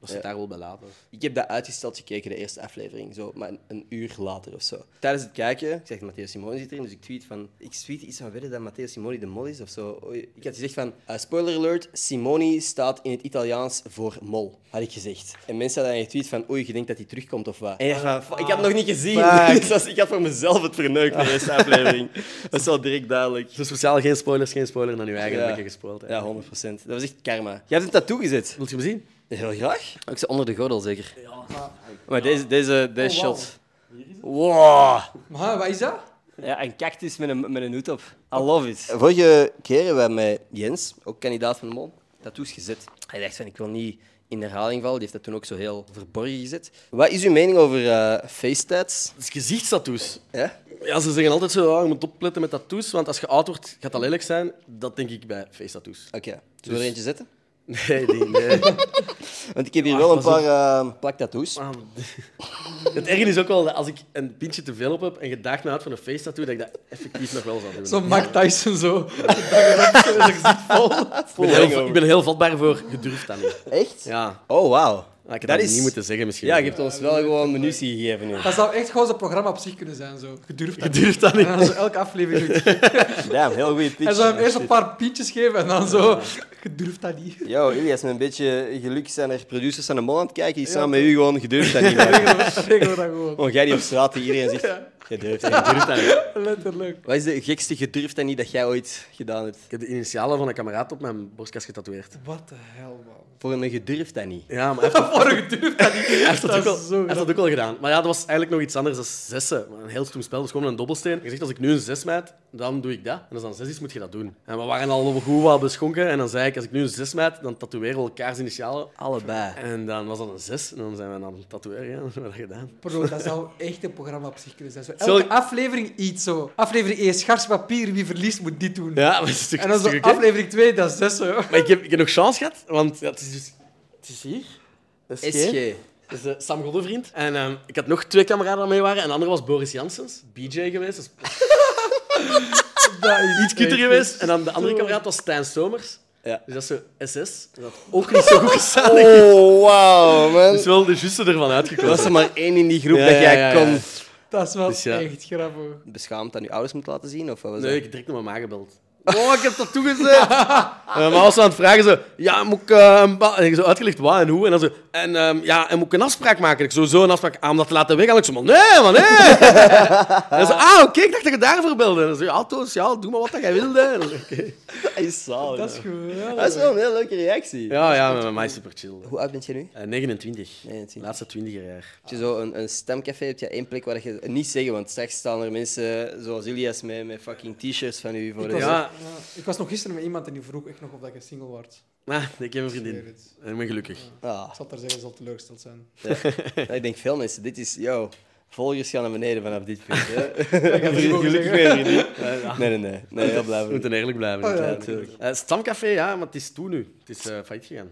Speaker 2: dat zit
Speaker 1: Ja.
Speaker 2: daar wel bij later.
Speaker 1: Ik heb dat uitgesteld gekeken, de eerste aflevering, zo, maar een, een uur later of zo. Tijdens het kijken, ik zeg, Matteo Simoni zit erin, dus ik tweet van... Ik tweet iets van verder dat Matteo Simoni de mol is of zo. Oei, Ik had gezegd van, eh, spoiler alert, Simoni staat in het Italiaans voor mol, had ik gezegd. En mensen hadden dan getweet van, oei, je denkt dat hij terugkomt of wat? En ik dacht van, Ah, "Fuck, ik had het nog niet gezien.
Speaker 3: Fuck.
Speaker 1: Dus dat- ik had voor mezelf het verneukt, de eerste aflevering. Dat is wel direct duidelijk.
Speaker 2: Dus speciaal geen spoilers, geen spoiler dan je eigen ja. gespoild.
Speaker 1: Ja, 100 Dat was echt karma. Jij hebt een tattoo gezet.
Speaker 2: Wilt je hem zien?
Speaker 1: Heel graag. Ook zo onder de gordel, zeker. Maar deze, deze, deze
Speaker 3: Oh, wauw.
Speaker 1: shot. Wow.
Speaker 3: Maar wat is dat?
Speaker 1: Ja, een cactus met een, met een hoed op. I love it. Vorige keer hebben wij met Jens, ook kandidaat van de mol, tattoos gezet. Hij dacht van, ik wil niet in herhaling vallen. Die heeft dat toen ook zo heel verborgen gezet. Wat is uw mening over eh face tats?
Speaker 2: Dat is gezichtstattoos.
Speaker 1: Ja?
Speaker 2: Ja, ze zeggen altijd zo, ah, je moet opletten met tattoos, want als je oud wordt, gaat dat lelijk zijn. Dat denk ik bij face tattoos.
Speaker 1: Oké. Zullen we er eentje zetten?
Speaker 2: Nee, die, nee.
Speaker 1: Dus- Want ik heb hier wel een paar eh plak tattoos.
Speaker 2: Ah, Het ergste is ook wel dat als ik een pintje te veel op heb en je daagt me uit van een face tattoo, dat ik dat effectief nog wel zou doen.
Speaker 3: Zo Mike Tyson zo.
Speaker 2: ik, ben heel, ik ben heel vatbaar voor gedurfd aan niet.
Speaker 1: Echt?
Speaker 2: Ja.
Speaker 1: Oh, wauw.
Speaker 2: Ah, Ik had dat niet moeten zeggen misschien.
Speaker 1: Ja, je hebt ons wel gewoon munitie gegeven nu.
Speaker 3: Dat zou echt gewoon zo'n programma op zich kunnen zijn. Zo. Gedurfd. dat
Speaker 2: Gedurfd dat niet.
Speaker 3: En dan zo elke aflevering. doet.
Speaker 1: Damn, heel goede pitch.
Speaker 3: Hij zou hem eerst een paar pintjes geven en dan zo. Gedurfd dat niet.
Speaker 1: Yo, Ilias, met een beetje geluk zijn er producers aan de mol aan het kijken. Die samen met u gewoon gedurfd dat niet maken.
Speaker 3: Regel dat gewoon.
Speaker 1: Gewoon jij die op straat tegen iedereen zegt, gedurfd dat niet.
Speaker 2: Gedurfd dat niet.
Speaker 3: Letterlijk.
Speaker 1: Wat is de gekste gedurfd dat niet dat jij ooit gedaan hebt?
Speaker 2: Ik heb de initialen van een kameraad op mijn borstkas getatoeëerd.
Speaker 3: Wat de hel, man.
Speaker 1: Voor een gedurfd dat niet.
Speaker 2: Ja, maar hij heeft dat-
Speaker 3: Voor een gedurfd dat niet.
Speaker 2: hij heeft dat,
Speaker 3: Dat
Speaker 2: ook,
Speaker 3: is
Speaker 2: wel,
Speaker 3: zo
Speaker 2: hij heeft dat
Speaker 3: grappig.
Speaker 2: ook wel gedaan. Maar ja, dat was eigenlijk nog iets anders dan zessen. Maar een heel stom spel, dat is gewoon een dobbelsteen. Je zegt, als ik nu een zes mijt, dan doe ik dat. En als dan zes is, moet je dat doen. En we waren al goed wat beschonken. En dan zei ik, als ik nu een zes mijt, dan tatoeëren we elkaars initialen
Speaker 1: Allebei.
Speaker 2: En dan was dat een zes en dan zijn we aan het tatoeëren. Ja, dat hebben we dat gedaan.
Speaker 3: Bro, dat zou echt een programma op zich kunnen zijn. Zo, elke
Speaker 2: Sorry.
Speaker 3: aflevering iets zo. Aflevering 1, schars papier, wie verliest moet dit doen.
Speaker 2: Ja, maar het is toch
Speaker 3: En dan zo
Speaker 2: het is toch oké?
Speaker 3: aflevering 2, dat is 6 zo.
Speaker 2: Maar ik heb, ik heb nog chance gehad, want ja, het is dus... Het is hier. SG.
Speaker 1: SG.
Speaker 2: Dat is eh, Sam Goddevriend. En ehm, ik had nog twee kameraden die mee waren. En de andere was Boris Janssens, BJ geweest. Dus
Speaker 3: Dat is
Speaker 2: iets kutter
Speaker 3: echt
Speaker 2: geweest. En dan de andere
Speaker 3: zo.
Speaker 2: kameraad was Stijn Somers.
Speaker 1: Ja.
Speaker 2: Dus dat is zo SS. Dat had ook niet zo goed gezellig.
Speaker 1: Oh, wauw, man.
Speaker 2: Dat is Dus wel de juiste ervan
Speaker 1: Dus Er
Speaker 2: uitgekomen.
Speaker 1: was er maar één in die groep
Speaker 2: Ja,
Speaker 1: dat jij
Speaker 2: ja, ja,
Speaker 1: kon.
Speaker 2: ja.
Speaker 3: Dat is wel
Speaker 2: Dus ja.
Speaker 3: echt grappig.
Speaker 1: Beschaamd aan je ouders moet laten zien? Of wat was
Speaker 2: Nee, ik
Speaker 1: dat?
Speaker 2: heb direct naar mijn ma gebeld. Oh, ik heb dat toegezet. Eh, maar als ze aan het vragen zo, ja, moet ik eh, een ba- en ik zo uitgelegd waar en hoe en dan zo, en ehm, ja, en moet ik een afspraak maken? Ik zo, zo een afspraak aan dat te laten weggaan. Ik zo, maar nee, maar nee. en dan zo, ah, oké, ik dacht dat je daarvoor belde. En dan zo, ja, Toos, ja, doe maar wat dat jij wilde. En dan zo, oké.
Speaker 1: Dat is zalig.
Speaker 3: Dat is
Speaker 1: Dat is
Speaker 3: geweldig.
Speaker 1: wel een hele leuke reactie.
Speaker 2: Ja, ja, maar mij is super chill.
Speaker 1: Hoe oud bent je nu?
Speaker 2: Eh, 29.
Speaker 1: 29.
Speaker 2: Laatste 20 jaar.
Speaker 1: Als je zo een, een stemcafé hebt, je één plek waar je niet zeggen, want straks staan er mensen zoals Ilias met, met fucking t-shirts van u voor
Speaker 3: Ik
Speaker 1: de
Speaker 3: was,
Speaker 2: Ja.
Speaker 3: ja, ik was nog gisteren met iemand en die vroeg echt nog of dat je single was.
Speaker 2: Ah, ik heb een
Speaker 3: Ik
Speaker 2: vriendin.
Speaker 3: weet het.
Speaker 2: En ik ben gelukkig.
Speaker 1: Ah,
Speaker 3: Ik zal daar zeggen, zal teleurgesteld zijn.
Speaker 1: ja, ik denk veel mensen, dit is, yo, volgers gaan naar beneden vanaf dit punt. Hè?
Speaker 3: het niet mogen
Speaker 1: Gelukkig
Speaker 3: zeggen.
Speaker 1: weer niet. Nee, nee, nee, nee, heel blij
Speaker 2: Eh, We
Speaker 1: voor u.
Speaker 2: moeten eerlijk blijven.
Speaker 3: Oh, ja,
Speaker 2: natuurlijk.
Speaker 1: natuurlijk.
Speaker 2: Eh, Stamcafé, ja, maar het is toe nu. Het is eh, failliet gegaan.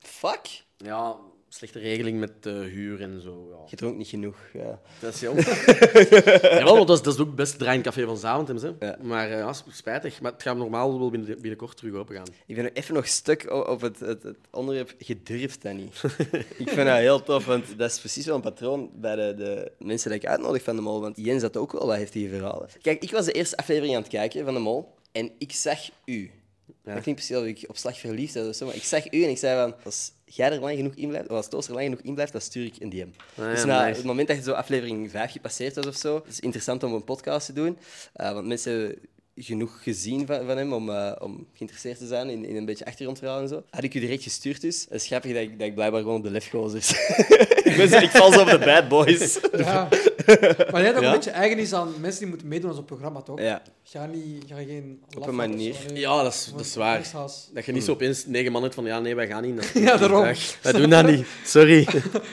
Speaker 1: Fuck,
Speaker 2: Ja, slechte regeling met eh, huur en zo. Ja.
Speaker 1: je dronk niet genoeg. Ja.
Speaker 2: Dat is jammer. Jawel, want dat is, dat is ook best draaiend café van Zaventem. Hè.
Speaker 1: Ja.
Speaker 2: Maar eh, ja, sp- spijtig. Maar het gaat normaal wel binnen, binnenkort terug open gaan.
Speaker 1: Ik ben nog even nog stuk o- op het, het, het onderwerp gedurfd dat niet. ik vind dat heel tof, want dat is precies wel een patroon bij de, de mensen die ik uitnodig van de mol. Want Jens had ook wel wat heftige verhalen. Kijk, ik was de eerste aflevering aan het kijken van de mol en ik zag u. Dat klinkt precies alsof ik op slag verliefd was of zo, maar ik zag u en ik zei van, als jij er lang genoeg in blijft, of als Toos er lang genoeg in blijft, dan stuur ik een DM.
Speaker 2: ja,
Speaker 1: dus na
Speaker 2: nice.
Speaker 1: het moment dat je zo aflevering 5 gepasseerd was of zo, het is interessant om een podcast te doen, eh, want mensen genoeg gezien van, van hem om, eh, om geïnteresseerd te zijn in, in een beetje achtergrondverhaal en zo. Had ik u direct gestuurd dus. Het is grappig dat ik, dat ik blijkbaar gewoon op de lefgozers... ik, ben zo- ik val zo op de bad boys.
Speaker 3: Ja. Maar jij hebt ook
Speaker 1: Ja?
Speaker 3: een beetje eigen is aan mensen die moeten meedoen aan zo'n programma, toch?
Speaker 1: Ja.
Speaker 3: Ga, niet, ga geen...
Speaker 1: een manier.
Speaker 2: Ja, dat is, dat is waar. Dat je niet zo opeens negen man hebt van ja, nee, wij gaan niet. naar-
Speaker 3: Ja, daarom.
Speaker 2: Dag. Wij doen dat niet. Sorry.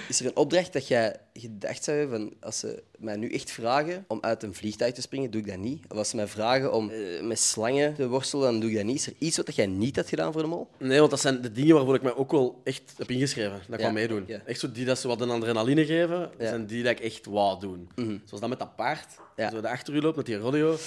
Speaker 1: Is er een opdracht dat jij gedacht zou hebben van als ze mij nu echt vragen om uit een vliegtuig te springen, doe ik dat niet? Of als ze mij vragen om eh, met slangen te worstelen, dan doe ik dat niet. Is er iets wat jij niet had gedaan voor de mol?
Speaker 2: Nee, want dat zijn de dingen waarvoor ik mij ook wel echt heb ingeschreven. Dat ik
Speaker 1: Ja,
Speaker 2: wou meedoen.
Speaker 1: ja.
Speaker 2: Echt zo die dat ze wat een adrenaline geven, dat
Speaker 1: Ja. Mhm.
Speaker 2: zijn die dat ik echt wou doen. Zoals dat met dat paard.
Speaker 1: Ja.
Speaker 2: Zo dat achter u loopt met die rodeo.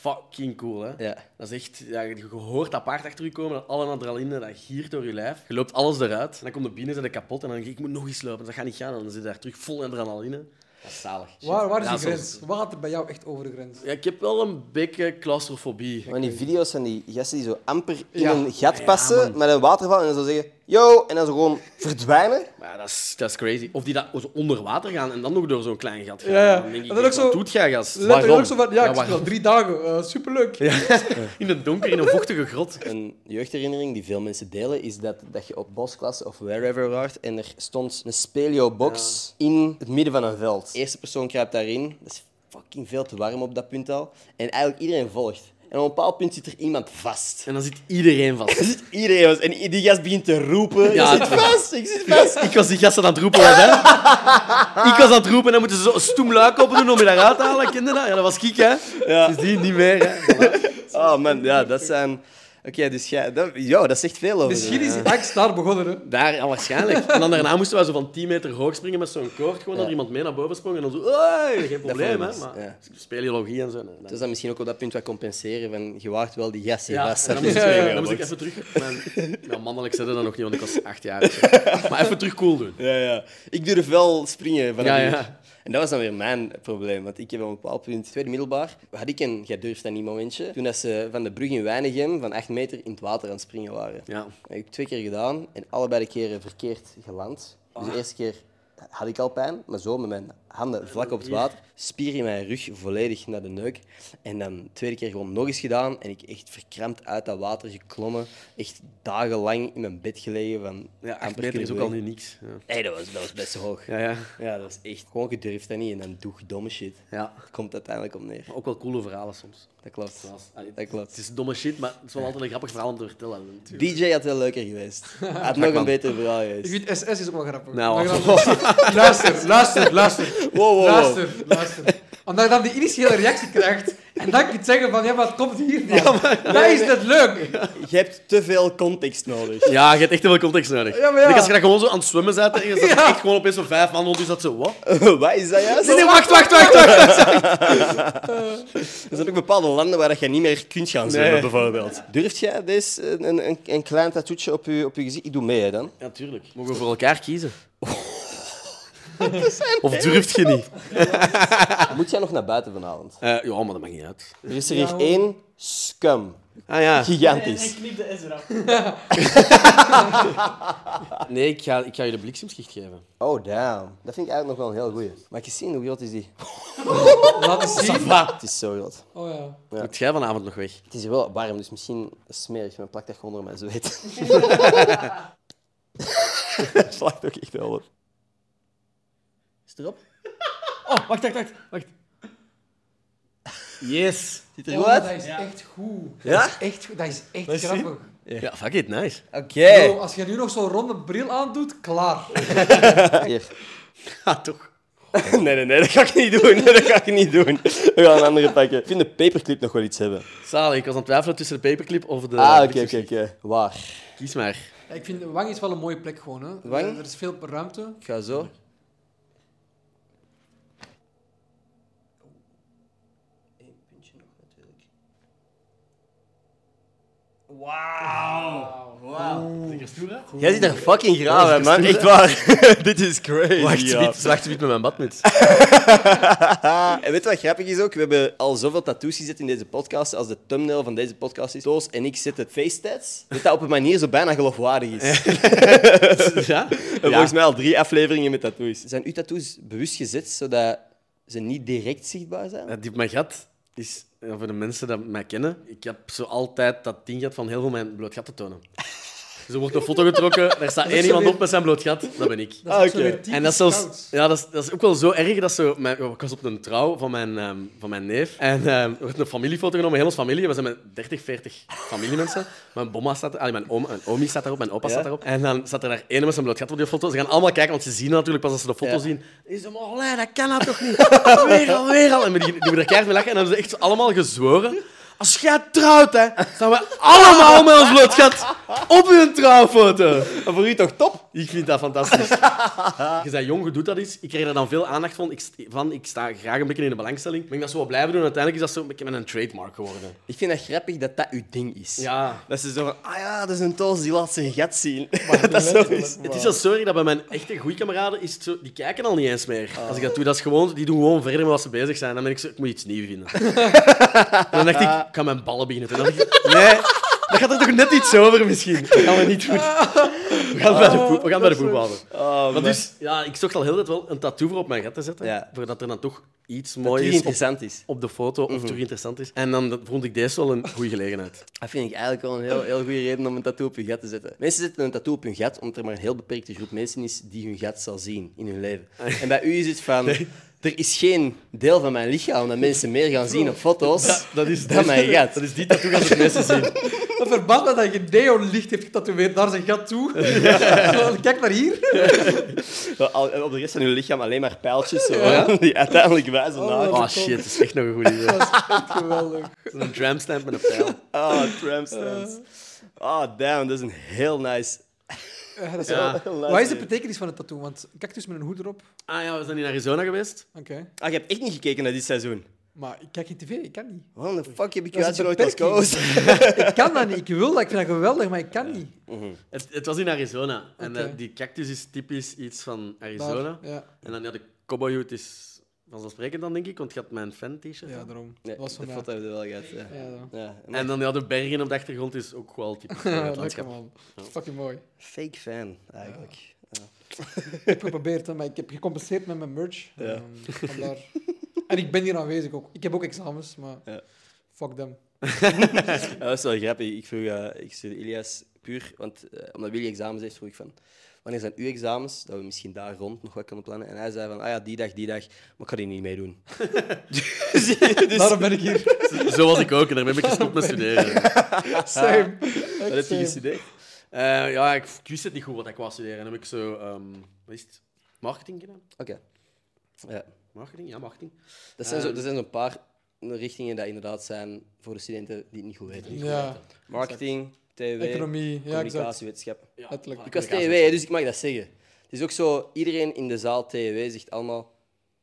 Speaker 2: Fucking cool, hè?
Speaker 1: Ja.
Speaker 2: Dat is echt, ja, je hoort dat paard achter je komen, dat alle adrenaline, dat giert door je lijf. Je loopt alles eruit. En dan komt de binnen, zijn kapot. En dan denk ik, ik moet nog eens lopen. Dus dat gaat niet gaan. En dan zit je daar terug vol adrenaline. Dat is zalig.
Speaker 3: Waar, waar is
Speaker 2: Ja,
Speaker 3: die
Speaker 2: soms-
Speaker 3: grens? Wat gaat er bij jou echt over de grens?
Speaker 2: Ja, ik heb wel een beetje claustrofobie.
Speaker 1: Maar die video's van die gasten die zo amper in
Speaker 3: Ja.
Speaker 1: een gat passen met een waterval en dan zo zeggen, yo, en dan zo gewoon verdwijnen.
Speaker 2: Maar ja, dat is, dat is crazy. Of die dat zo onder water gaan en dan nog door zo'n klein gat gaan.
Speaker 3: Ja, ja.
Speaker 2: Dan denk ik,
Speaker 3: En dan ook
Speaker 2: wat
Speaker 3: zo-
Speaker 2: doet jij, gast?
Speaker 3: Letterlijk ook zo van, ja, ik speel
Speaker 2: waarom?
Speaker 3: al drie dagen. eh, superleuk.
Speaker 2: In het donker, in een vochtige grot.
Speaker 1: Een jeugdherinnering die veel mensen delen is dat, dat je op bosklas of wherever waart en er stond een speleo-box in het midden van een veld. De eerste persoon kruipt daarin. Dat is fucking veel te warm op dat punt al. En eigenlijk iedereen volgt. En op een bepaald punt zit er iemand vast.
Speaker 2: En dan zit iedereen vast.
Speaker 1: Er zit iedereen vast. En i- die gast begint te roepen.
Speaker 2: Ja,
Speaker 1: ik zit
Speaker 2: het-
Speaker 1: vast, ik zit vast.
Speaker 2: Ik was die gasten aan het roepen, was, hè? Ik was aan het roepen en dan moeten ze zo een stoem luik open doen om je daaruit te halen. Ken je dat? Ja, dat was Kiek, hè?
Speaker 1: Ja.
Speaker 2: Dus die niet meer, hè?
Speaker 1: Oh man, ja, dat zijn... Oké, dus jij... Dat, ja, dat zegt veel over eh.
Speaker 3: Misschien
Speaker 1: je.
Speaker 3: is die angst daar begonnen, hè.
Speaker 2: Daar, ja, waarschijnlijk. En dan daarna moesten wij zo van 10 meter hoog springen met zo'n koord. Gewoon dat er iemand mee naar boven sprong en dan zo... "Oei, geen probleem,
Speaker 1: vond
Speaker 2: hè?
Speaker 1: ik dus,
Speaker 2: Maar
Speaker 1: nice,
Speaker 2: speleologie en zo. nee, nee.
Speaker 1: Dus dan misschien ook op dat punt wat compenseren van je waart wel die gast hier
Speaker 2: Ja,
Speaker 1: vast.
Speaker 2: en dan moest, ik,
Speaker 3: Ja, ja,
Speaker 2: dan
Speaker 3: ja,
Speaker 2: moest ik even terug. Mijn, ja, mannelijk zette dat nog niet, want ik was acht jaar. of zo. Maar even terug cool doen.
Speaker 1: Ja, ja. Ik durf wel springen van
Speaker 2: Ja,
Speaker 1: een
Speaker 2: ja.
Speaker 1: muur. En dat was dan weer mijn probleem. Want ik heb op een bepaald punt, tweede middelbaar, had ik een jij durft dat niet momentje. Toen dat ze van de brug in Weinigem van 8 meter in het water aan het springen waren.
Speaker 2: Ja.
Speaker 1: Dat heb ik twee keer gedaan en allebei de keren verkeerd geland. Dus
Speaker 2: Ah.
Speaker 1: de eerste keer had ik al pijn, maar zo met mijn handen vlak op het water, spier in mijn rug volledig naar de neuk. En dan de tweede keer gewoon nog eens gedaan en ik echt verkrampt uit dat water geklommen. Echt dagenlang in mijn bed gelegen. Van
Speaker 2: Ja,
Speaker 1: amper
Speaker 2: 8 meter is
Speaker 1: kunnen
Speaker 2: ook al
Speaker 1: bewegen.
Speaker 2: niet niks. Ja.
Speaker 1: Nee, dat was, dat was best hoog.
Speaker 2: Ja, ja.
Speaker 1: Ja, dat is echt gewoon gedurfd en niet en dan doe je domme shit.
Speaker 2: Ja.
Speaker 1: Dat komt uiteindelijk op neer.
Speaker 2: Maar ook wel coole verhalen soms.
Speaker 1: Dat klopt.
Speaker 2: Zoals- allee,
Speaker 1: Dat
Speaker 2: Het
Speaker 1: klopt.
Speaker 2: is domme shit, maar het is wel altijd een grappig verhaal om te vertellen. natuurlijk.
Speaker 1: DJ had wel leuker geweest. Had nog een
Speaker 2: man.
Speaker 1: beter verhaal
Speaker 3: Ik
Speaker 1: geweest.
Speaker 3: vind SS is ook wel grappig.
Speaker 2: Nou,
Speaker 3: Omdat je dan- luister, luister, luister.
Speaker 1: wow, wow.
Speaker 3: Luister, luister. Omdat je dan die initiële reactie krijgt en dan kunt zeggen van, ja, wat komt hier Ja, Dat is net leuk.
Speaker 1: Je hebt te veel context nodig.
Speaker 2: Ja, je hebt echt heel veel context nodig.
Speaker 3: Ja, maar ja.
Speaker 2: Ik Als je dat gewoon zo aan het zwemmen zet en je zat
Speaker 3: Ja.
Speaker 2: echt gewoon opeens zo'n vijf man rond, is dat zo, wat?
Speaker 1: Wat is dat juist?
Speaker 3: Nee, nee, wacht, wacht, wacht, wacht.
Speaker 1: Er zijn ook bepaalde landen waar dat je niet meer kunt gaan zwemmen,
Speaker 2: Nee.
Speaker 1: bijvoorbeeld. Durft jij deze, een, een- een, een klein tattoetje op je, op je gezicht? Ik doe mee, hè, dan.
Speaker 2: Ja, tuurlijk. Mogen we voor elkaar kiezen? Of durft je niet?
Speaker 1: Moet jij nog naar buiten vanavond?
Speaker 2: Eh, ja, maar dat maakt niet uit.
Speaker 1: Er is er
Speaker 3: Ja,
Speaker 1: hier
Speaker 3: hoor.
Speaker 1: één scum.
Speaker 2: Ah ja.
Speaker 1: Gigantisch.
Speaker 4: knip de S eraf.
Speaker 2: Nee, ik ga, ik ga je de bliksemschicht geven.
Speaker 1: Oh, damn. Dat vind ik eigenlijk nog wel een heel goeie. Mag ik eens zien? Hoe groot is die?
Speaker 3: Laat eens zien.
Speaker 1: Het is zo groot.
Speaker 3: Oh ja.
Speaker 2: Moet jij vanavond nog weg?
Speaker 1: Het is hier wel warm, dus misschien smerig. Maar plak dat gewoon onder mijn zweet. Het plakt ook echt wel op. Is het erop?
Speaker 2: Oh, wacht, wacht, wacht. wacht. Yes.
Speaker 1: Zit
Speaker 3: Oh,
Speaker 1: er goed
Speaker 3: Dat
Speaker 1: uit?
Speaker 3: is echt goed.
Speaker 1: Ja?
Speaker 3: Dat is echt, goed. dat is echt grappig.
Speaker 2: Ja, fuck it, nice.
Speaker 1: Oké.
Speaker 3: Bro, als je nu nog zo'n ronde bril aandoet, klaar.
Speaker 1: Hier.
Speaker 2: Ja, toch.
Speaker 1: Nee, nee, nee, dat ga ik niet doen. Nee, dat ga ik niet doen. We gaan een andere pakken. Ik vind de paperclip nog wel iets hebben.
Speaker 2: Zalig, ik was aan het twijfelen tussen de paperclip of de...
Speaker 1: Ah, oké, oké,
Speaker 2: bliksemschicht.
Speaker 1: oké. Waar?
Speaker 2: Kies maar.
Speaker 3: Ja, ik vind de wang is wel een mooie plek gewoon. Hè. Eh,
Speaker 1: Wang?
Speaker 3: Er is veel ruimte.
Speaker 1: Ik ga zo. Eén puntje nog, natuurlijk.
Speaker 4: Wauw. Wauw. Ziet er stoer uit?
Speaker 1: Jij ziet er fucking graaf uit, man. Echt waar. Dit is crazy. ja.
Speaker 2: wit met mijn badmuts.
Speaker 1: En weet je wat grappig is ook? We hebben al zoveel tattoos gezet in deze podcast. Als de thumbnail van deze podcast is, Toos en ik zetten face tats. Dat dat op een manier zo bijna geloofwaardig is. En
Speaker 2: ja?
Speaker 1: Volgens mij al drie afleveringen met tattoos. Zijn uw tattoos bewust gezet zodat ze niet direct zichtbaar zijn?
Speaker 2: Die op mijn gat is... eh, ja, voor de mensen die mij kennen, ik heb zo altijd dat ding gehad van heel veel mijn bloot gat te tonen. Dus er wordt een foto getrokken, daar staat
Speaker 3: is
Speaker 2: één
Speaker 3: zo
Speaker 2: iemand
Speaker 3: weer-
Speaker 2: op met zijn bloot gat, dat ben ik.
Speaker 3: Dat is ook zo
Speaker 1: oké.
Speaker 3: weer typisch
Speaker 2: En dat is, zelfs,
Speaker 3: Scouts.
Speaker 2: ja, dat, is, dat is ook wel zo erg dat zo. Mijn, ik was op een trouw van mijn, ehm, van mijn neef. En ehm, er werd een familiefoto genomen, heel onze familie. We zijn met 30, 40 familiemensen. Mijn bomma staat er, allee, mijn, oom, mijn omi staat daarop, mijn opa staat daarop. En dan staat er daar ene met zijn bloot gat op die foto. Ze gaan allemaal kijken, want ze zien dat natuurlijk pas als ze de foto
Speaker 1: Ja.
Speaker 2: zien. Is hem al, hè, dat kan dat toch niet? Weer al, weer al. En die, die hebben er keihard mee lachen. En dan hebben ze echt zo allemaal gezworen. Als jij trouwt, hè, staan we allemaal met ons bloot gat op hun trouwfoto.
Speaker 1: Maar voor u toch top?
Speaker 2: Ik vind dat fantastisch. je bent jong, je doet dat iets. Ik kreeg daar dan veel aandacht van. Ik, st- van. ik sta graag een beetje in de belangstelling. Maar ik dat zo wat blijven doen. Uiteindelijk is dat zo een beetje met een trademark geworden.
Speaker 1: Ik vind dat grappig dat dat uw ding is.
Speaker 2: Ja.
Speaker 1: Dat ze zo van, ah ja, dat is een toos, die laat zijn gat zien.
Speaker 3: Dat
Speaker 1: zo is-
Speaker 2: Het is al sorry dat bij mijn echte goede kameraden is het zo, die kijken al niet eens meer.
Speaker 1: Oh.
Speaker 2: Als ik dat doe, dat is gewoon, die doen gewoon verder met wat ze bezig zijn. Dan ben ik zo, ik moet iets nieuws vinden. en dan dacht ik, ik kan mijn ballen beginnen. Toen dacht ik, nee,
Speaker 1: Ah,
Speaker 2: dat gaat er toch net iets over misschien. Dat gaan we niet doen. We gaan bij de poep, we gaan bij de poep houden.
Speaker 1: Oh,
Speaker 2: Maar dus, ja, ik zocht al heel dat wel een tattoo voor op mijn gat te zetten.
Speaker 1: Ja.
Speaker 2: Voordat er dan toch iets
Speaker 1: Mooi
Speaker 2: moois op,
Speaker 1: interessant is.
Speaker 2: op de foto of toch interessant is. Mhm. En dan vond ik deze wel een goede gelegenheid.
Speaker 1: Dat vind ik eigenlijk wel een heel, heel goede reden om een tattoo op je gat te zetten. Mensen zetten een tattoo op hun gat omdat er maar een heel beperkte groep mensen is die hun gat zal zien in hun leven. En bij u is het van, er is geen deel van mijn lichaam dat mensen meer gaan zien op foto's
Speaker 2: dat is-
Speaker 1: dan mijn gat.
Speaker 2: Dat is die tattoo gaan ze het meeste zien.
Speaker 3: Een verband met dat je neonlicht heeft getatoeëerd naar zijn gat toe. Zo, Kijk naar hier.
Speaker 1: Zo, al- en Op de rest van hun lichaam alleen maar pijltjes, zo, hè, die uiteindelijk wijzen
Speaker 3: Oh,
Speaker 1: naar...
Speaker 3: dat
Speaker 2: Oh shit, dat is echt nog een goede idee.
Speaker 3: Dat is echt geweldig.
Speaker 2: Een dramstamp met een pijl.
Speaker 1: Ah, tramstands. Ah, damn, dat is een heel nice...
Speaker 3: Ja, Eh, dat is
Speaker 2: Ja.
Speaker 3: wel-
Speaker 1: heel nice
Speaker 3: Ah. Wat is de
Speaker 1: idee.
Speaker 3: betekenis van het tattoo? Want cactus met een hoed erop. Oké.
Speaker 2: Ah ja, we zijn in Arizona geweest.
Speaker 1: Ah, je hebt echt niet gekeken naar dit seizoen.
Speaker 3: Maar ik kijk geen tv, ik kan niet.
Speaker 1: Waarom de fuck heb ik
Speaker 3: Dat
Speaker 1: je
Speaker 3: is
Speaker 1: uitgenodigd
Speaker 3: een
Speaker 1: als co-host?
Speaker 3: Ik kan dat niet. Ik wil dat. Ik vind dat geweldig, maar ik kan niet.
Speaker 2: Het, het was in Arizona. En
Speaker 3: Oké.
Speaker 2: eh, die cactus is typisch iets van
Speaker 3: Daar,
Speaker 2: Arizona.
Speaker 3: Ja.
Speaker 2: En dan ja, de cowboy hoed is vanzelfsprekend dan, denk ik, want je had mijn fan-t-shirt.
Speaker 3: ja,
Speaker 2: aan.
Speaker 3: daarom.
Speaker 1: Nee,
Speaker 3: dat was van
Speaker 1: de
Speaker 3: mij.
Speaker 1: foto heb je wel gehad, ja.
Speaker 3: Ja, daarom.
Speaker 1: Ja, maar
Speaker 2: En dan ja, de bergen op de achtergrond is ook wel typisch voor
Speaker 3: Ja,
Speaker 2: het landschap.
Speaker 3: lekker eh, man. Fucking mooi.
Speaker 1: Fake fan, eigenlijk.
Speaker 3: Ik heb geprobeerd, hè, maar ik heb gecompenseerd met mijn merch. Ehm, vandaar. En ik ben hier aanwezig ook. Ik heb ook examens, maar
Speaker 1: Ja.
Speaker 3: fuck them.
Speaker 1: Ja, dat is wel grappig. Ik vroeg, eh, ik stuurde Ilias puur, want eh, omdat Willy examens heeft, vroeg ik van, wanneer zijn uw examens, dat we misschien daar rond nog wat kunnen plannen. En hij zei van, ah ja, die dag, die dag, maar ik ga die niet meedoen. dus,
Speaker 3: Daarom ben ik hier.
Speaker 2: Zo was ik ook, en daar ben ik gestopt met studeren.
Speaker 3: Same.
Speaker 1: wat
Speaker 3: Echt
Speaker 1: heb je
Speaker 3: same.
Speaker 1: gestudeerd?
Speaker 2: Eh, ja, ik, ik wist het niet goed wat ik wou studeren. En dan heb ik zo, ehm, wat is het? Marketing gedaan?
Speaker 1: Oké. Ja.
Speaker 2: Marketing? Ja, marketing.
Speaker 1: Dat zijn zo-
Speaker 2: Ehm.
Speaker 1: Er zijn zo'n paar richtingen die inderdaad zijn voor de studenten die het niet goed weten.
Speaker 3: Ja,
Speaker 1: Marketing, TW,
Speaker 3: economie. Ja, exact.
Speaker 1: communicatiewetenschap.
Speaker 2: Ja,
Speaker 3: Letterlijk.
Speaker 2: maar
Speaker 1: Ik was TW,
Speaker 2: communicatie-
Speaker 1: hè, dus ik mag dat zeggen. Het is ook zo, iedereen in de zaal TW zegt allemaal...